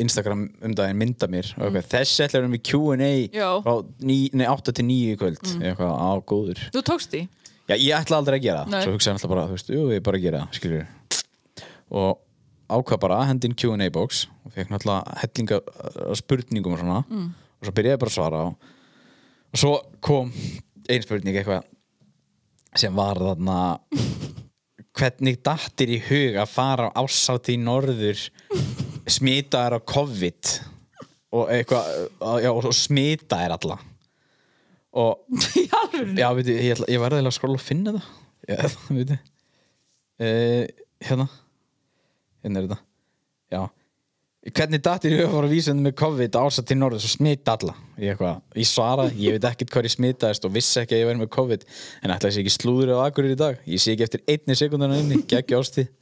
B: Instagram um daginn mynda mér og eitthvað, þessi ætlar við með Q&A
C: Já.
B: frá ní- nei, 8 til 9 í kvöld eitthvað á góður
C: Þú tókst því?
B: Já, ég ætla aldrei að gera það
C: Nei.
B: Svo hugsaði hann alltaf bara, þú veist, jú, ég bara að gera það, skilur Og ákvað bara að hendi inn Q&A box Og fekk náttúrulega hellinga uh, spurningum og svona Og svo byrjaði bara að svara og, og svo kom ein spurning eitthvað Sem var þarna Hvernig dattir í hug að fara á ásátt í norður Smitaðar á COVID Og eitthvað, uh, já, og svo smitaðar alla Og
C: Í alvöru?
B: Já, veitu, ég, ætla- ég verði eiginlega að skrolla og finna það Já, það veitu uh, Hérna Hérna er þetta Já Hvernig dattir ég að fara að vísa henni með COVID ása til norður og smita alla Ég, eitthvað, ég svara, ég veit ekkert hvað ég smitaðist og vissi ekki að ég verði með COVID En ætla ég sé ekki slúður á akkurir í dag Ég sé ekki eftir einni sekundana inni, geggi ástíð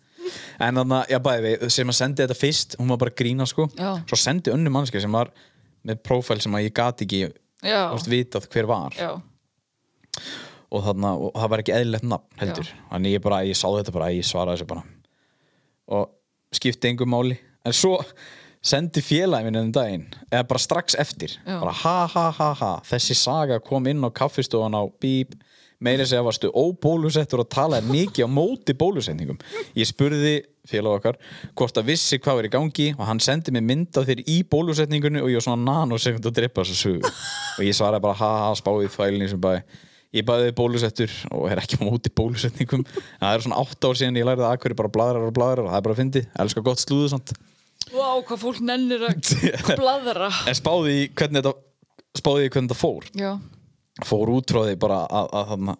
B: En þannig að, já bæði við, sem að sendi þetta fyrst Hún var bara að grína sko
C: Já.
B: Svo sendi önnu mannskja sem var með prófæl sem að ég gat ekki
C: Já.
B: þú veist, vitað hver var
C: Já,
B: og, þarna, og það var ekki eðlilegt nafn heldur þannig ég bara, ég sá þetta bara, ég svaraði þessu bara og skipti engum máli en svo sendi félagi minn um daginn, eða bara strax eftir
C: Já.
B: bara ha ha ha ha þessi saga kom inn á kaffistofan á bíp meira segja varstu óbólusettur og talaði mikið á móti bólusetningum ég spurði félag okkar hvort að vissi hvað var í gangi og hann sendi mér mynd á þér í bólusetningunni og ég var svona nanosekund að drepa þessu sögu og ég svaraði bara ha ha ha spáðið fælinni sem bæði ég bæði bólusettur og er ekki á móti bólusetningum en það eru svona 8 ár síðan ég lærði að akkur bara bladrar og bladrar og það er bara að fyndi elskar gott slúðu samt
C: Vá, hvað fólk nennir að bladra
B: en spáði í hvernig þetta spáði í hvernig þetta fór
C: Já,
B: fór útráði bara að, að þarna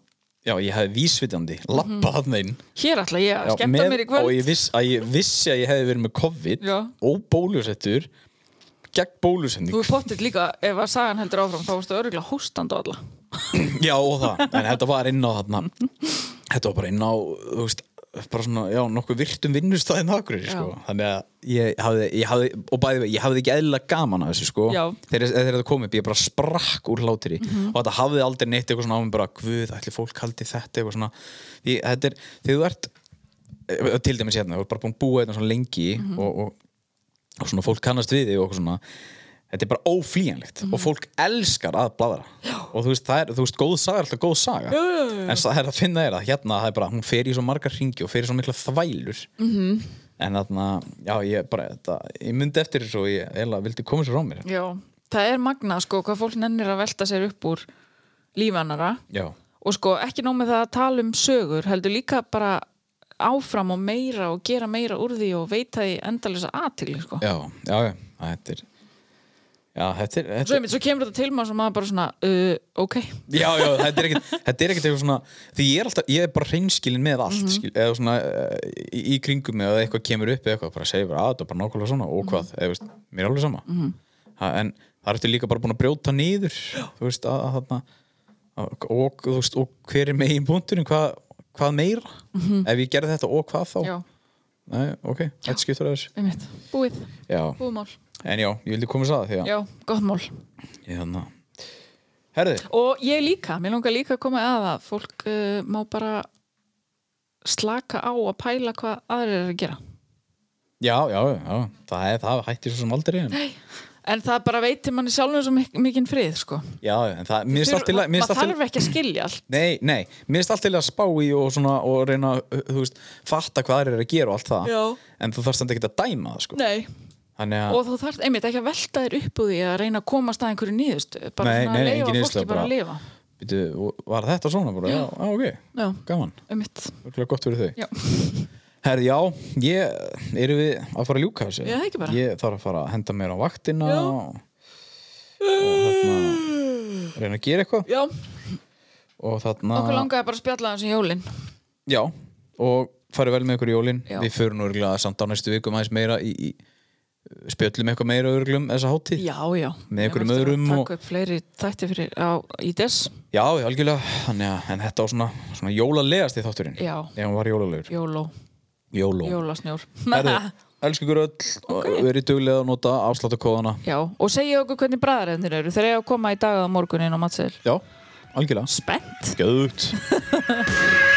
B: já ég hefði vísvitandi lappa þarna inn
C: hér ætla ég Mhm. að
B: Já,
C: skemmta mér í
B: og
C: kvöld
B: ég, viss, að ég vissi að ég hefði verið með COVID
C: Já.
B: og bólusettur gegn bólusetning
C: Þú er pottitt líka, ef að sagan heldur áfram þá varstu öruglega hóstand á alla
B: Já og það, en þetta var inn á þarna Þetta var bara inn á þú veist, bara svona, já, nokkuð virtum vinnustæðin akkur, sko,
C: Já.
B: þannig að ég hafði, ég hafði, og bæði, ég hafði ekki eðlilega gaman að þessu, sko,
C: Já. Mhm.
B: þegar, þegar þetta kom upp, ég bara sprakk úr hlátri og þetta hafði aldrei neitt eitthvað svona á mig bara, guð, ætli fólk haldi þetta, eitthvað svona því, þetta er, þegar þú ert eh, til dæmis hérna, þú ert bara búin að búa þetta svona lengi
C: Mhm.
B: og, og, og svona fólk kannast við þig og eitthvað svona þetta er bara óflýjanlegt og fólk elskar að bladra og þú veist, það er, þú veist, góð saga er alltaf góð saga en það er að finna þér að hérna það er bara, hún fer í svo margar ringi og fer í svo mikla þvælur -hmm. en þarna, já, ég bara þetta, ég myndi eftir þessu og ég eiginlega vildi koma sér á mér
C: Já, það er magnað sko hvað fólk nennir að velta sér upp úr lífanara
B: já,
C: og sko ekki nóg með það að tala um sögur heldur líka bara áfram og meira og gera meira úr því og veita því endalisa aðtil sko.
B: já, já, já þetta er já, þetta er, þetta
C: svo, einmitt, svo kemur þetta til maður sem maður bara svona uh, ok,
B: Já, já, þetta er ekkert þetta er ekkert eitthvað svona, því ég er alltaf ég er bara hreinskilin með allt,
C: Mhm.
B: skil, eða svona eh, í, í kringum mig, eða eitthvað kemur upp eða eitthvað, bara segir bara að þetta er bara nákvæmlega svona og
C: Mhm.
B: hvað, eða veist, mér er alveg sama ha, en það ertu líka bara búin að brjóta niður þú veist, að, að þarna að- og, þú veist, og hver er megin punkturinn hvað, hvað meira ef ég gerði þetta og hvað þá
C: Mhm. já,
B: Nei, ok, þetta skiptur að þessu
C: einmitt búið,
B: já.
C: búið mál,
B: en já, ég vildi koma þess að því að
C: já, gott mál
B: ég þannig herði,
C: og ég líka, mér langar líka að koma að að fólk uh, má bara slaka á að pæla hvað aðrir er að gera
B: já, já, já það, er- það hættir svo sem aldrei en
C: en það bara veitir manni sjálfum svo mik mikinn frið sko.
B: Já, já, en það, mér finnst allt til
C: Þur-
B: að mér finnst
C: maður
B: allt til-
C: þarf ekki að skilja allt sko.
B: Nei, nei, mér finnst allt til að spá í og svona og reyna, uh, þú veist, fatta hvað þeir eru að gera og allt það
C: Já.
B: En þú þarfst samt ekki að dæma það, sko
C: Nei,
B: Þannig að,
C: og þú þarft einmitt ekki að velta þér upp úr því að reyna að komast að einhverju nýðust bara
B: Nei,
C: svona
B: nei,
C: að
B: nei,
C: leifa
B: engin
C: fólki
B: niðurstaða,
C: bara að
B: bara-
C: lifa
B: býtu, var þetta svona bara? Já, já ok,
C: Já.
B: gaman,
C: einmitt,
B: örgulega gott fyrir þau
C: já,
B: Herði, já, ég, eru við að fara að ljúka þessu?
C: Já, ekki bara.
B: Ég þarf að fara að henda mér á vaktina
C: Já.
B: og, og þarna, reyna að gera eitthvað
C: já
B: Og þarna
C: okkur langaði bara að spjalla þessu jólin
B: Já, og farið vel með ykkur í jólin
C: Já.
B: Við förum örgulega samt á næstu vikum aðeins meira í, í spjöllum eitthvað meira örgulega um þessa hátíð
C: já, já,
B: Með
C: Ég
B: einhverjum
C: mun eftir
B: öðrum
C: að
B: og-
C: taka upp fleiri þætti fyrir á IDES
B: Já, já, algjörlega, þannig að en þetta á svona, svona jólalegast í þátturinn
C: Já.
B: Ef hann var jólalegur
C: jóló,
B: Jóló
C: jólasnjór
B: Herðu, elsku ykkur öll og verið duglega að nota afsláttakóðana
C: já, og segja okkur hvernig bræðarefnir eru þeir eru að koma í dag að morgunin á matseil
B: Já, algjörlega
C: spennt
B: Gjöðugt